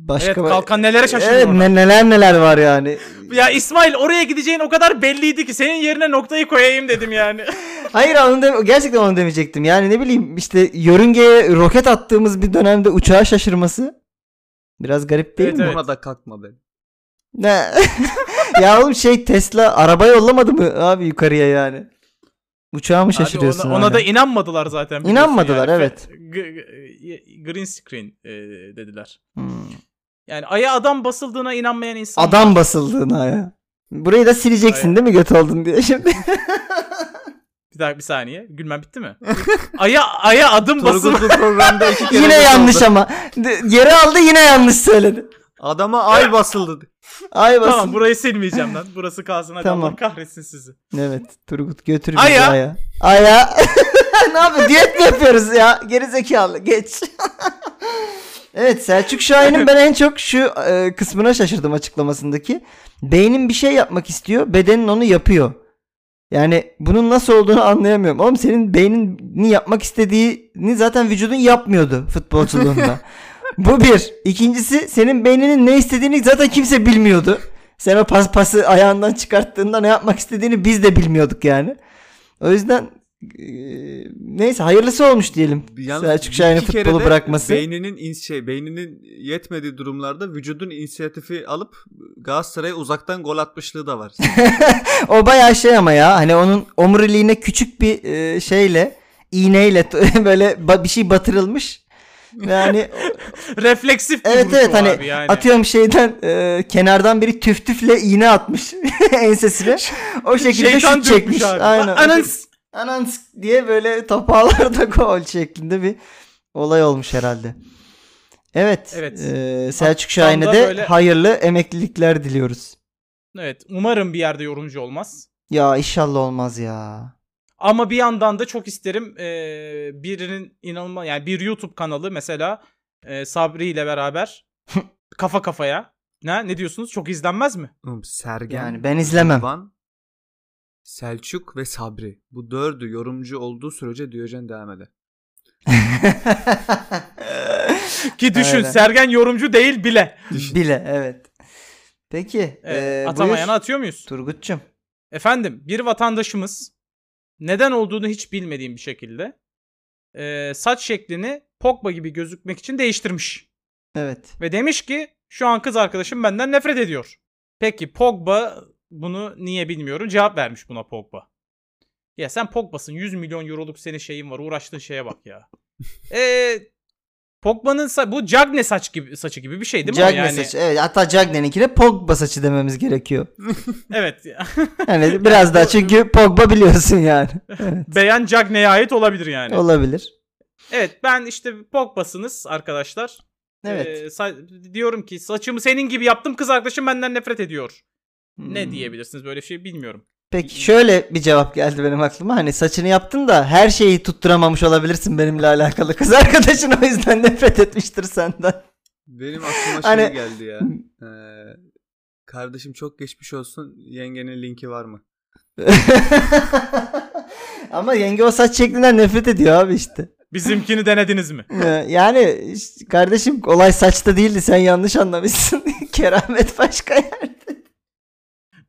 B: başka
A: Evet kalkan nelere şaşırıyor
B: Evet,
A: orada.
B: ne- neler neler var yani.
A: Ya İsmail oraya gideceğin o kadar belliydi ki senin yerine noktayı koyayım dedim yani.
B: Hayır onu dem- gerçekten onu demeyecektim. Yani ne bileyim işte yörüngeye roket attığımız bir dönemde uçağa şaşırması biraz garip değil
A: Evet,
B: mi?
A: evet.
C: Ona da kalkma ben.
B: Ne? ya oğlum şey Tesla araba yollamadı mı abi yukarıya yani? Uçağa mı
A: Abi
B: şaşırıyorsun?
A: ona, ona
B: hala?
A: da inanmadılar zaten. biliyorsun
B: İnanmadılar, evet.
A: G- g- green screen e, dediler.
B: Hmm.
A: Yani aya adam basıldığına inanmayan insan.
B: Adam basıldığına ya. Burayı da sileceksin
A: Hayır.
B: değil mi göt oldun diye şimdi.
A: Bir dakika bir saniye. Gülmem bitti mi? aya aya adım basıl.
C: Turgut bu programda iki kere
B: yine
C: nasıl
B: yanlış
C: oldu?
B: ama. De- Geri aldı yine yanlış söyledi.
C: Adama ay basıldı.
B: Ay basıldı.
A: tamam burayı silmeyeceğim lan. Burası kalsın hadi
B: Tamam.
A: Allah kahretsin sizi.
B: Evet Turgut götür bizi
A: Aya.
B: aya. Aya. ne yapıyor? Diyet mi yapıyoruz ya? Geri zekalı geç. evet Selçuk Şahin'in ben en çok şu e, kısmına şaşırdım açıklamasındaki. Beynin bir şey yapmak istiyor. Bedenin onu yapıyor. Yani bunun nasıl olduğunu anlayamıyorum. Oğlum senin beynini yapmak istediğini zaten vücudun yapmıyordu futbolculuğunda. Bu bir. İkincisi senin beyninin ne istediğini zaten kimse bilmiyordu. Sen o pas pası ayağından çıkarttığında ne yapmak istediğini biz de bilmiyorduk yani. O yüzden eee, neyse hayırlısı olmuş diyelim.
C: Yalnız
B: Selçuk
C: bir
B: Şahin'in
C: iki kere
B: futbolu
C: de
B: bırakması.
C: Beyninin in- şey beyninin yetmediği durumlarda vücudun inisiyatifi alıp Galatasaray'a uzaktan gol atmışlığı da var.
B: O bayağı şey ama ya hani onun omuriliğine küçük bir eee, şeyle iğneyle böyle ba- bir şey batırılmış. Yani
A: Refleksif bir
B: evet
A: vuruş
B: evet
A: o
B: hani
A: abi yani.
B: atıyorum şeyden eee, kenardan biri tüf tüfle iğne atmış ensesine. O şekilde
A: Şey- Şeytan
B: şut çekmiş.
A: dürtmüş abi.
B: Aynen.
A: Anans.
B: Anans diye böyle topağlarda gol şeklinde bir olay olmuş herhalde. Evet.
A: Evet.
B: eee, Selçuk
A: Hatta
B: Şahin'e
A: da
B: de
A: böyle-
B: hayırlı emeklilikler diliyoruz.
A: Evet umarım bir yerde yorumcu olmaz.
B: Ya inşallah olmaz ya.
A: Ama bir yandan da çok isterim eee, birinin inanılmaz yani bir YouTube kanalı mesela eee, Sabri ile beraber kafa kafaya ne ne diyorsunuz çok izlenmez mi?
C: Oğlum Sergen,
B: Yani ben izlemem.
C: Van, Selçuk ve Sabri. Bu dördü yorumcu olduğu sürece Diyojen devam eder.
A: Ki düşün
B: Öyle.
A: Sergen yorumcu değil bile.
B: Bile evet. Peki.
A: Evet,
B: eee,
A: atamayana
B: buyur.
A: atıyor muyuz?
B: Turgut'cum.
A: Efendim bir vatandaşımız neden olduğunu hiç bilmediğim bir şekilde eee, saç şeklini Pogba gibi gözükmek için değiştirmiş.
B: Evet.
A: Ve demiş ki şu an kız arkadaşım benden nefret ediyor. Peki Pogba bunu niye bilmiyorum cevap vermiş buna Pogba. Ya sen Pogba'sın 100 milyon euroluk senin şeyin var uğraştığın şeye bak ya. Eee Pogba'nın sa- bu Cagne saç gibi saçı gibi bir şey değil mi? o
B: Cagne
A: yani?
B: saçı. Evet, hatta Cagne'ninkine Pogba saçı dememiz gerekiyor.
A: Evet.
B: Yani biraz daha çünkü Pogba biliyorsun yani.
A: Beyan Cagne'ye ait olabilir yani.
B: Olabilir.
A: evet ben işte Pogba'sınız arkadaşlar.
B: Evet.
A: Eee, sa- diyorum ki saçımı senin gibi yaptım kız arkadaşım benden nefret ediyor. Ne
B: Hmm.
A: diyebilirsiniz böyle bir şey bilmiyorum.
B: Peki şöyle bir cevap geldi benim aklıma. Hani saçını yaptın da her şeyi tutturamamış olabilirsin benimle alakalı. Kız arkadaşın o yüzden nefret etmiştir senden.
C: Benim aklıma şey
B: Hani-
C: geldi ya. Ee, kardeşim çok geçmiş olsun. Yengenin linki var mı?
B: Ama yenge o saç şeklinden nefret ediyor abi işte.
A: Bizimkini denediniz mi?
B: Ee, Yani işte kardeşim olay saçta değildi sen yanlış anlamışsın. Keramet başka yer.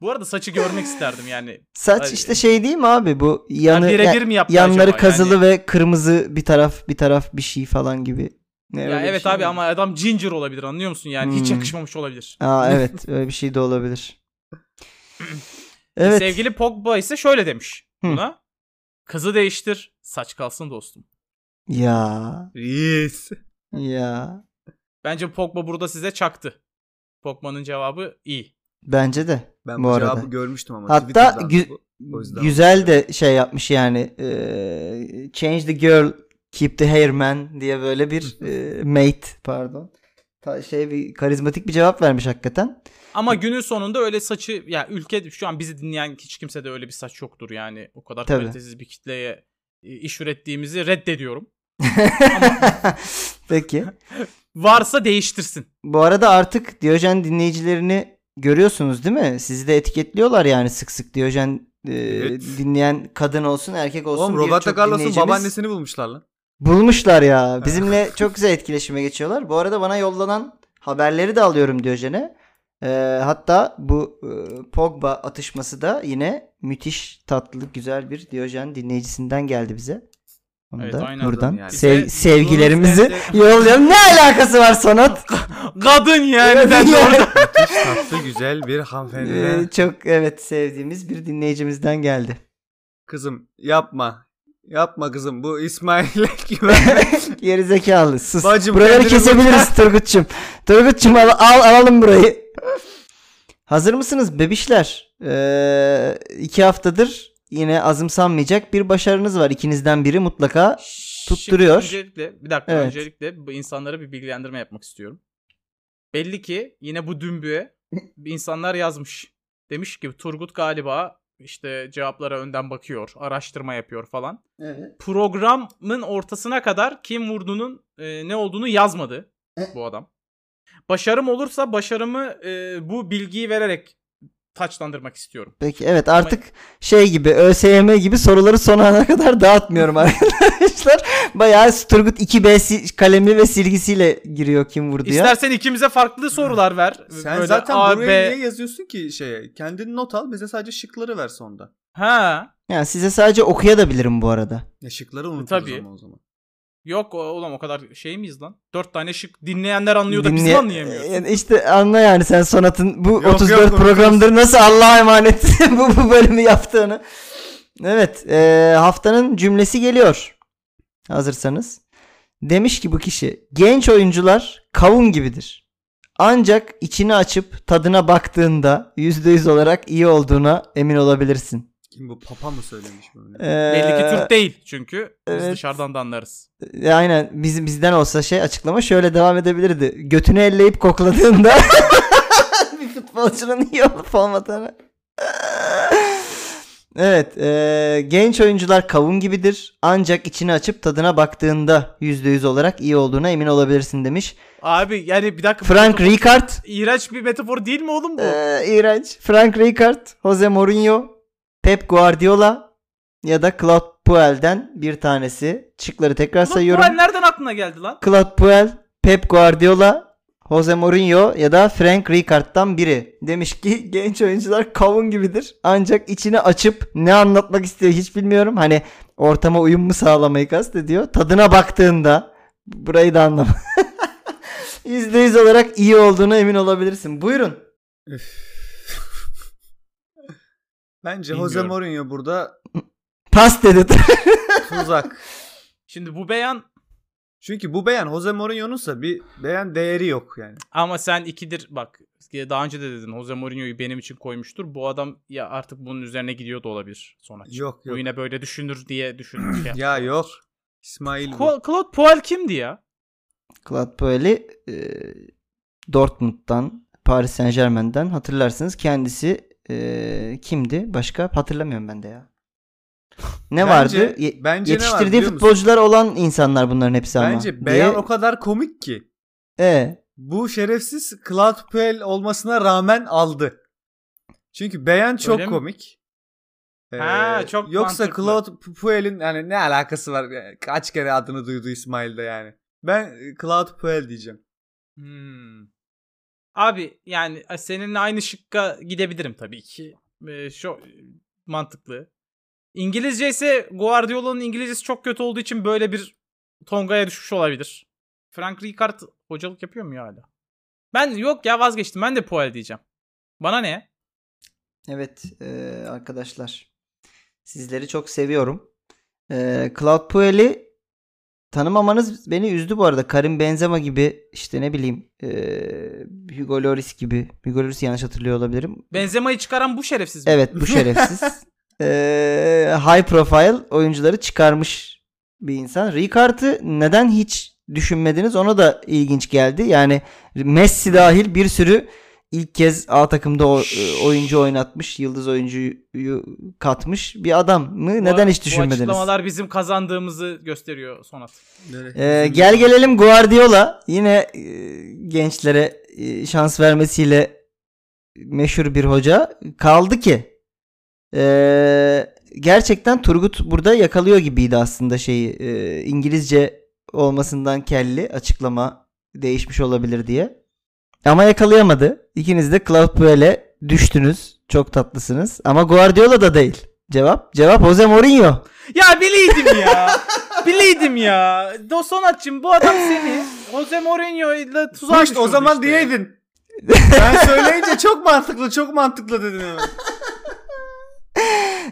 A: Bu arada saçı görmek isterdim yani.
B: Saç
A: Ay-
B: işte şey değil mi abi bu
A: Yani
B: yanı
A: birebir mi yaptı
B: yanları
A: acaba
B: kazılı
A: yani?
B: ve kırmızı bir taraf bir taraf bir şey falan gibi. Ne öyle
A: Ya
B: bir
A: evet
B: şey
A: abi
B: mi?
A: ama adam ginger olabilir anlıyor musun yani hiç
B: Hmm.
A: yakışmamış olabilir.
B: Aa evet öyle bir şey de olabilir. Evet.
A: Sevgili Pogba ise şöyle demiş
B: Hı.
A: buna. Kızı değiştir, saç kalsın dostum.
B: Ya.
C: Reis.
B: Ya.
A: Bence Pogba burada size çaktı. Pogba'nın cevabı iyi.
B: Bence de.
C: Ben bu,
B: Bu arada.
C: cevabı görmüştüm ama.
B: Hatta
C: Twitter'dan
B: gü-
C: bu. O yüzden-
B: Güzel de şey yapmış yani. eee, change the girl, keep the hair man diye böyle bir eee, mate pardon. Ta- şey bir karizmatik bir cevap vermiş hakikaten.
A: Ama günün sonunda öyle saçı ya ülke şu an bizi dinleyen hiç kimse de öyle bir saç yoktur yani. O kadar
B: Tabii.
A: kalitesiz bir kitleye e, iş ürettiğimizi reddediyorum.
B: Peki.
A: Varsa değiştirsin.
B: Bu arada artık Diyojen dinleyicilerini görüyorsunuz değil mi? Sizi de etiketliyorlar yani sık sık Diyojen e,
C: Evet.
B: dinleyen kadın olsun erkek olsun
C: Oğlum
B: diye
C: Roberto
B: çok
C: Carlos'un
B: dinleyicimiz
C: babaannesini bulmuşlar lan.
B: bulmuşlar ya. Bizimle çok güzel etkileşime geçiyorlar. Bu arada bana yollanan haberleri de alıyorum Diyojen'e. E, hatta bu e, Pogba atışması da yine müthiş tatlı güzel bir Diyojen dinleyicisinden geldi bize. Onu
A: Evet,
B: da
A: aynen.
B: buradan
C: Yani.
B: sev-
A: Bize
B: sevgilerimizi
A: Nur'un
B: yollayalım. Ne alakası var Sonat?
A: Kadın yani. ben de orada-
C: Müthiş tatlı güzel bir hanımefendi.
B: Ee, çok evet sevdiğimiz bir dinleyicimizden geldi.
C: Kızım yapma. Yapma kızım bu İsmail'e güvenme.
B: Geri zekalı sus.
C: Bacım,
B: Buraları
C: kendini
B: kesebiliriz Turgut'cum. Turgut'cum al, al- alalım burayı. Hazır mısınız bebişler? Ee, iki haftadır yine azımsanmayacak bir başarınız var. İkinizden biri mutlaka. Tutturuyor.
A: Şimdi öncelikle bir dakika
B: Evet.
A: öncelikle bu insanlara bir bilgilendirme yapmak istiyorum. Belli ki yine bu dümbüye insanlar yazmış. Demiş ki Turgut galiba işte cevaplara önden bakıyor, araştırma yapıyor falan.
B: Evet.
A: Programın ortasına kadar kim vurduğunun e, ne olduğunu yazmadı bu adam. Başarım olursa başarımı e, bu bilgiyi vererek taçlandırmak istiyorum.
B: Peki evet artık şey gibi ÖSYM gibi soruları son ana kadar dağıtmıyorum arkadaşlar. Bayağı Turgut 2B si- kalemi ve silgisiyle giriyor kim vurdu ya.
A: İstersen ikimize farklı sorular ver.
C: Sen
A: Böyle
C: zaten
A: A,
C: buraya
A: B-
C: niye yazıyorsun ki şeye? Kendin not al bize sadece şıkları ver sonda.
A: Ha.
B: Yani size sadece okuyabilirim bu arada.
C: Ya şıkları unuturuz
A: E, tabii.
C: ama o zaman.
A: Yok o- oğlum o kadar şey miyiz lan? Dört tane şık dinleyenler anlıyor da biz mi anlayamıyoruz?
B: Yani işte anla yani sen Sonat'ın bu
C: yok,
B: 34
C: unutmuşuz.
B: programdır nasıl Allah'a emanet bu, bu bölümü yaptığını. Evet e, haftanın cümlesi geliyor. Hazırsanız. Demiş ki bu kişi genç oyuncular kavun gibidir. Ancak içini açıp tadına baktığında %100 olarak iyi olduğuna emin olabilirsin.
C: Kim bu papa mı söylemiş bunu?
B: E,
A: Belli ki Türk değil çünkü. Biz
B: evet.
A: dışarıdan da anlarız.
B: E, Aynen biz, bizden olsa şey açıklama şöyle devam edebilirdi. Götünü elleyip kokladığında bir futbolcunun iyi olup olmadığını. evet e, genç oyuncular kavun gibidir ancak içini açıp tadına baktığında %100 olarak iyi olduğuna emin olabilirsin demiş.
A: Abi yani bir dakika. bu
B: Frank
A: metafor-
B: Rijkaard
A: İğrenç bir metafor değil mi oğlum bu?
B: e, iğrenç. Frank Rijkaard, Jose Mourinho, Pep Guardiola ya da Claude Puel'den bir tanesi. Çıkları tekrar
A: Ulan
B: sayıyorum.
A: Kur'an nereden aklına geldi lan?
B: Claude Puel, Pep Guardiola, Jose Mourinho ya da Frank Rijkaard'dan biri. Demiş ki genç oyuncular kavun gibidir. Ancak içini açıp ne anlatmak istiyor hiç bilmiyorum. Hani ortama uyum mu sağlamayı kastediyor. Tadına baktığında burayı da anlam. %100 olarak iyi olduğuna emin olabilirsin. Buyurun.
C: Bence
A: Bilmiyorum.
C: Jose Mourinho burada
B: Pas dedi.
C: tuzak.
A: Şimdi bu beyan
C: Çünkü bu beyan Jose Mourinho'nunsa bir beyan değeri yok yani.
A: ama sen ikidir bak daha önce de dedin Jose Mourinho'yu benim için koymuştur. Bu adam ya artık bunun üzerine gidiyor da olabilir sonra.
C: Yok
A: Bu
C: yok.
A: yine böyle düşünür diye düşünür. Şey
C: Ya yok. İsmail bu.
A: Ko- Claude Puel kimdi ya?
B: Claude Puel'i e, Dortmund'dan, Paris Saint Germain'den hatırlarsınız. Kendisi e, kimdi? Başka hatırlamıyorum ben de ya. Ne
C: Bence-
B: vardı? Ye-
C: bence ne var
B: yetiştirdiği
C: biliyor musun?
B: futbolcular olan insanlar bunların hepsi ama.
C: Bence beyan
B: diye-
C: o kadar komik ki.
B: E,
C: Bu şerefsiz Claude Puel olmasına rağmen aldı. Çünkü beyan çok
A: Öyle mi?
C: komik. Ee,
A: Ha, çok
C: yoksa
A: mantıklı.
C: Claude Puel'in yani ne alakası var? Kaç kere adını duydu İsmail'de yani. Ben e, Claude Puel diyeceğim.
A: Hmm. Abi yani seninle aynı şıkka gidebilirim tabii ki. Ee, şu mantıklı. İngilizce ise Guardiola'nın İngilizcesi çok kötü olduğu için böyle bir Tonga'ya düşmüş olabilir. Frank Rijkaard hocalık yapıyor mu ya hala? Ben yok ya vazgeçtim. Ben de Puel diyeceğim. Bana ne?
B: Evet e, arkadaşlar. Sizleri çok seviyorum. E, Cloud Puel'i tanımamanız beni üzdü bu arada. Karim Benzema gibi işte ne bileyim e, Hugo Lloris gibi. Hugo Lloris'i yanlış hatırlıyor olabilirim.
A: Benzema'yı çıkaran bu şerefsiz. mi?
B: Evet bu şerefsiz. Ee, high profile oyuncuları çıkarmış bir insan. Ricard'ı neden hiç düşünmediniz ona da ilginç geldi. Yani Messi dahil bir sürü ilk kez A takımda o, e, oyuncu oynatmış, yıldız oyuncuyu katmış bir adam mı?
A: Bu-
B: Neden hiç
A: Bu
B: düşünmediniz?
A: açıklamalar bizim kazandığımızı gösteriyor Sonat.
B: Ee, gel gelelim Guardiola yine e, gençlere e, şans vermesiyle meşhur bir hoca kaldı ki e, gerçekten Turgut burada yakalıyor gibiydi aslında şeyi e, İngilizce olmasından kelli açıklama değişmiş olabilir diye ama yakalayamadı ikiniz de Claude Puel'e düştünüz çok tatlısınız ama Guardiola da değil cevap cevap Jose Mourinho
A: Ya bileydim ya. bileydim ya. Do Sonatçım bu adam seni Jose Mourinho ile tuzağa
C: Kuş, o
A: düşürdü
C: zaman
A: işte.
C: diyeydin. ben söyleyince çok mantıklı çok mantıklı dedin hemen.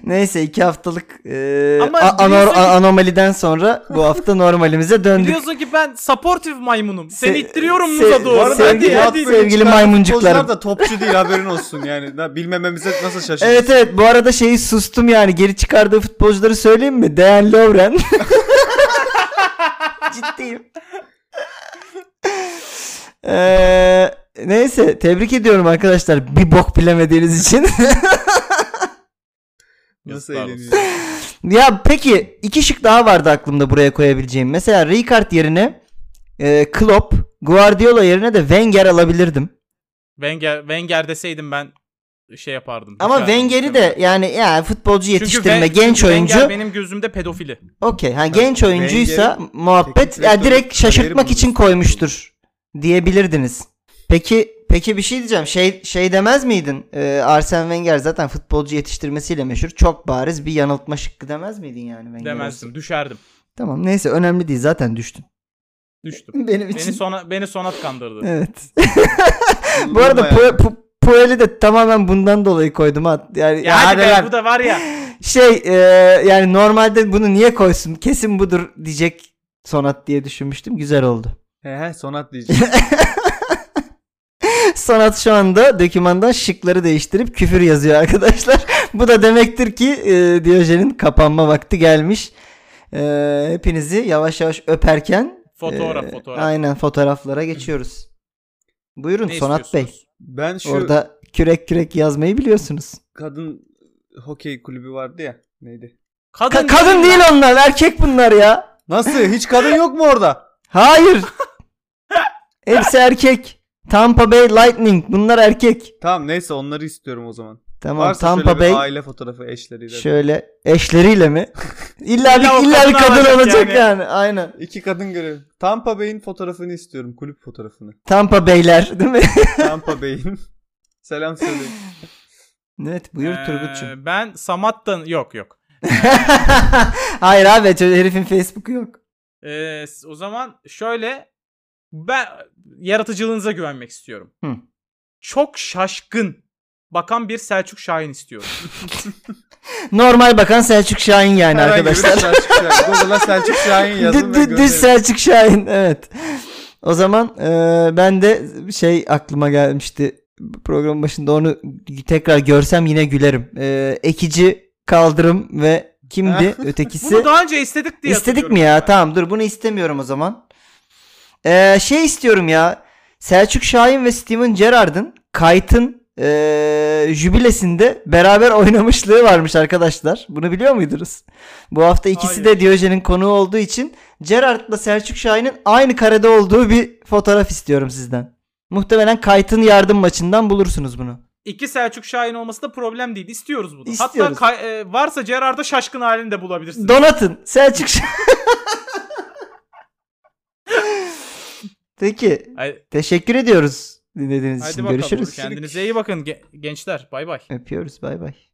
B: Neyse iki haftalık e,
A: Ama
B: a-
A: biliyorsun
B: anor-
A: ki-
B: a- anomaliden sonra bu hafta normalimize döndük.
A: Biliyorsun ki ben supportive maymunum. Seni
B: Se-
A: ittiriyorum
B: se-
A: muza doğru.
B: Bu arada sevgili-
A: hadi, hadi.
B: sevgili maymuncuklarım.
C: Futbolcular da topçu değil haberin olsun yani. Na- Bilmememize nasıl şaşırdın?
B: Evet evet bu arada şeyi sustum yani geri çıkardığı futbolcuları söyleyeyim mi? Dejan Lovren. Ciddiyim. Eee, neyse tebrik ediyorum arkadaşlar bir bok bilemediğiniz için.
C: Nasıl
A: Yazıklar
C: eğleniyor?
B: ya peki iki şık daha vardı aklımda buraya koyabileceğim. Mesela Ricard yerine e, Klopp, Guardiola yerine de Wenger alabilirdim.
A: Wenger, Wenger deseydim ben şey yapardım.
B: Ama
A: Dışarıda
B: Wenger'i de
A: düşünüyorum.
B: yani ya futbolcu
A: Çünkü
B: yetiştirme
A: Wen-
B: genç
A: çünkü
B: oyuncu.
A: Wenger benim gözümde pedofili.
B: Okey. Ha genç
C: Wenger-
B: oyuncuysa muhabbet
C: teknik
B: ya
C: direktörün
B: direkt şaşırtmak
C: kariyeri
B: için
C: bulunması
B: koymuştur diyebilirdiniz. Peki peki bir şey diyeceğim. Şey şey demez miydin? Ee, Arsene Wenger zaten futbolcu yetiştirmesiyle meşhur. Çok bariz bir yanıltma şıkkı demez miydin yani Wenger
A: Demezdim.
B: olsun?
A: Düşerdim.
B: Tamam neyse önemli değil zaten düştün.
A: Düştüm.
B: Benim için.
A: beni sona beni sonat kandırdı.
B: Evet. Bu arada
C: Durma
B: Pu- Pu- Puel'i de tamamen bundan dolayı koydum. ha. Yani,
A: Ya hadi
B: hadi
A: be,
B: lan.
A: bu da var ya.
B: şey e, yani normalde bunu niye koysun kesin budur diyecek sonat diye düşünmüştüm güzel oldu.
C: He he sonat diyeceğim.
B: Sonat şu anda dokümandan şıkları değiştirip küfür yazıyor arkadaşlar. Bu da demektir ki e, Diyojen'in kapanma vakti gelmiş. E, hepinizi yavaş yavaş öperken
A: Fotoğraf
B: e,
A: fotoğraf.
B: Aynen fotoğraflara geçiyoruz. Buyurun
A: Ne
B: Sonat Bey.
A: istiyorsunuz?
C: Ben şu
B: Orada kürek kürek yazmayı biliyorsunuz.
C: kadın hokey kulübü vardı ya. Neydi?
A: Kadın,
B: Ka- kadın değil onlar erkek bunlar ya.
C: Nasıl? Hiç kadın yok mu orada?
B: Hayır. Hepsi erkek. Tampa Bay Lightning bunlar erkek.
C: Tamam neyse onları istiyorum o zaman.
B: Tamam
C: Varsa
B: Tampa
C: şöyle bir
B: Bay
C: aile fotoğrafı eşleriyle.
B: şöyle eşleriyle mi? İlla
A: İlla o
B: bir illa bir
A: kadını
B: kadın
A: alacak
B: olacak yani.
A: yani.
B: Aynen.
C: İki kadın görev. Tampa Bay'in fotoğrafını istiyorum. Kulüp fotoğrafını.
B: Tampa Bayler değil mi?
C: Tampa Bay'in. Selam söyleyin.
B: evet buyur
A: Ee,
B: Turgut'cum.
A: Ben Samat'tan yok yok.
B: Hayır abi çö- herifin Facebook'u yok.
A: Ee, s- o zaman şöyle ben yaratıcılığınıza güvenmek istiyorum.
B: Hı.
A: Çok şaşkın bakan bir Selçuk Şahin istiyorum.
B: Normal bakan Selçuk Şahin yani
C: Herhangi bir
B: arkadaşlar.
C: Selçuk Şahin. Google'a Selçuk Şahin yazın
B: Dü-
C: ve
B: dü- Düz
C: gönderin.
B: Selçuk Şahin evet. O zaman e, ben de şey aklıma gelmişti programın başında onu tekrar görsem yine gülerim. E, ekici kaldırım ve kimdi ötekisi?
A: Bunu daha önce istedik diye
B: İstedik
A: hatırlıyorum
B: mi ya?
A: ben.
B: Tamam dur bunu istemiyorum o zaman. E, şey istiyorum ya. Selçuk Şahin ve Steven Gerrard'ın Kite'ın e, jübilesinde beraber oynamışlığı varmış arkadaşlar. Bunu biliyor muydunuz? Bu hafta ikisi
A: Hayır.
B: de Diyojen'in konuğu olduğu için Gerrard'la Selçuk Şahin'in aynı karede olduğu bir fotoğraf istiyorum sizden. Muhtemelen Kite'ın yardım maçından bulursunuz bunu.
A: İki Selçuk Şahin olması da problem değil. İstiyoruz bunu.
B: İstiyoruz.
A: Hatta kay- e, varsa Gerard'a şaşkın halini de bulabilirsin.
B: Donatın. Selçuk Şahin. Peki.
A: Hay-
B: Teşekkür ediyoruz dinlediğiniz
A: Haydi
B: için.
A: bakalım.
B: Görüşürüz.
A: Kendinize iyi bakın ge- gençler. Bay bay.
B: Öpüyoruz. Bay bay.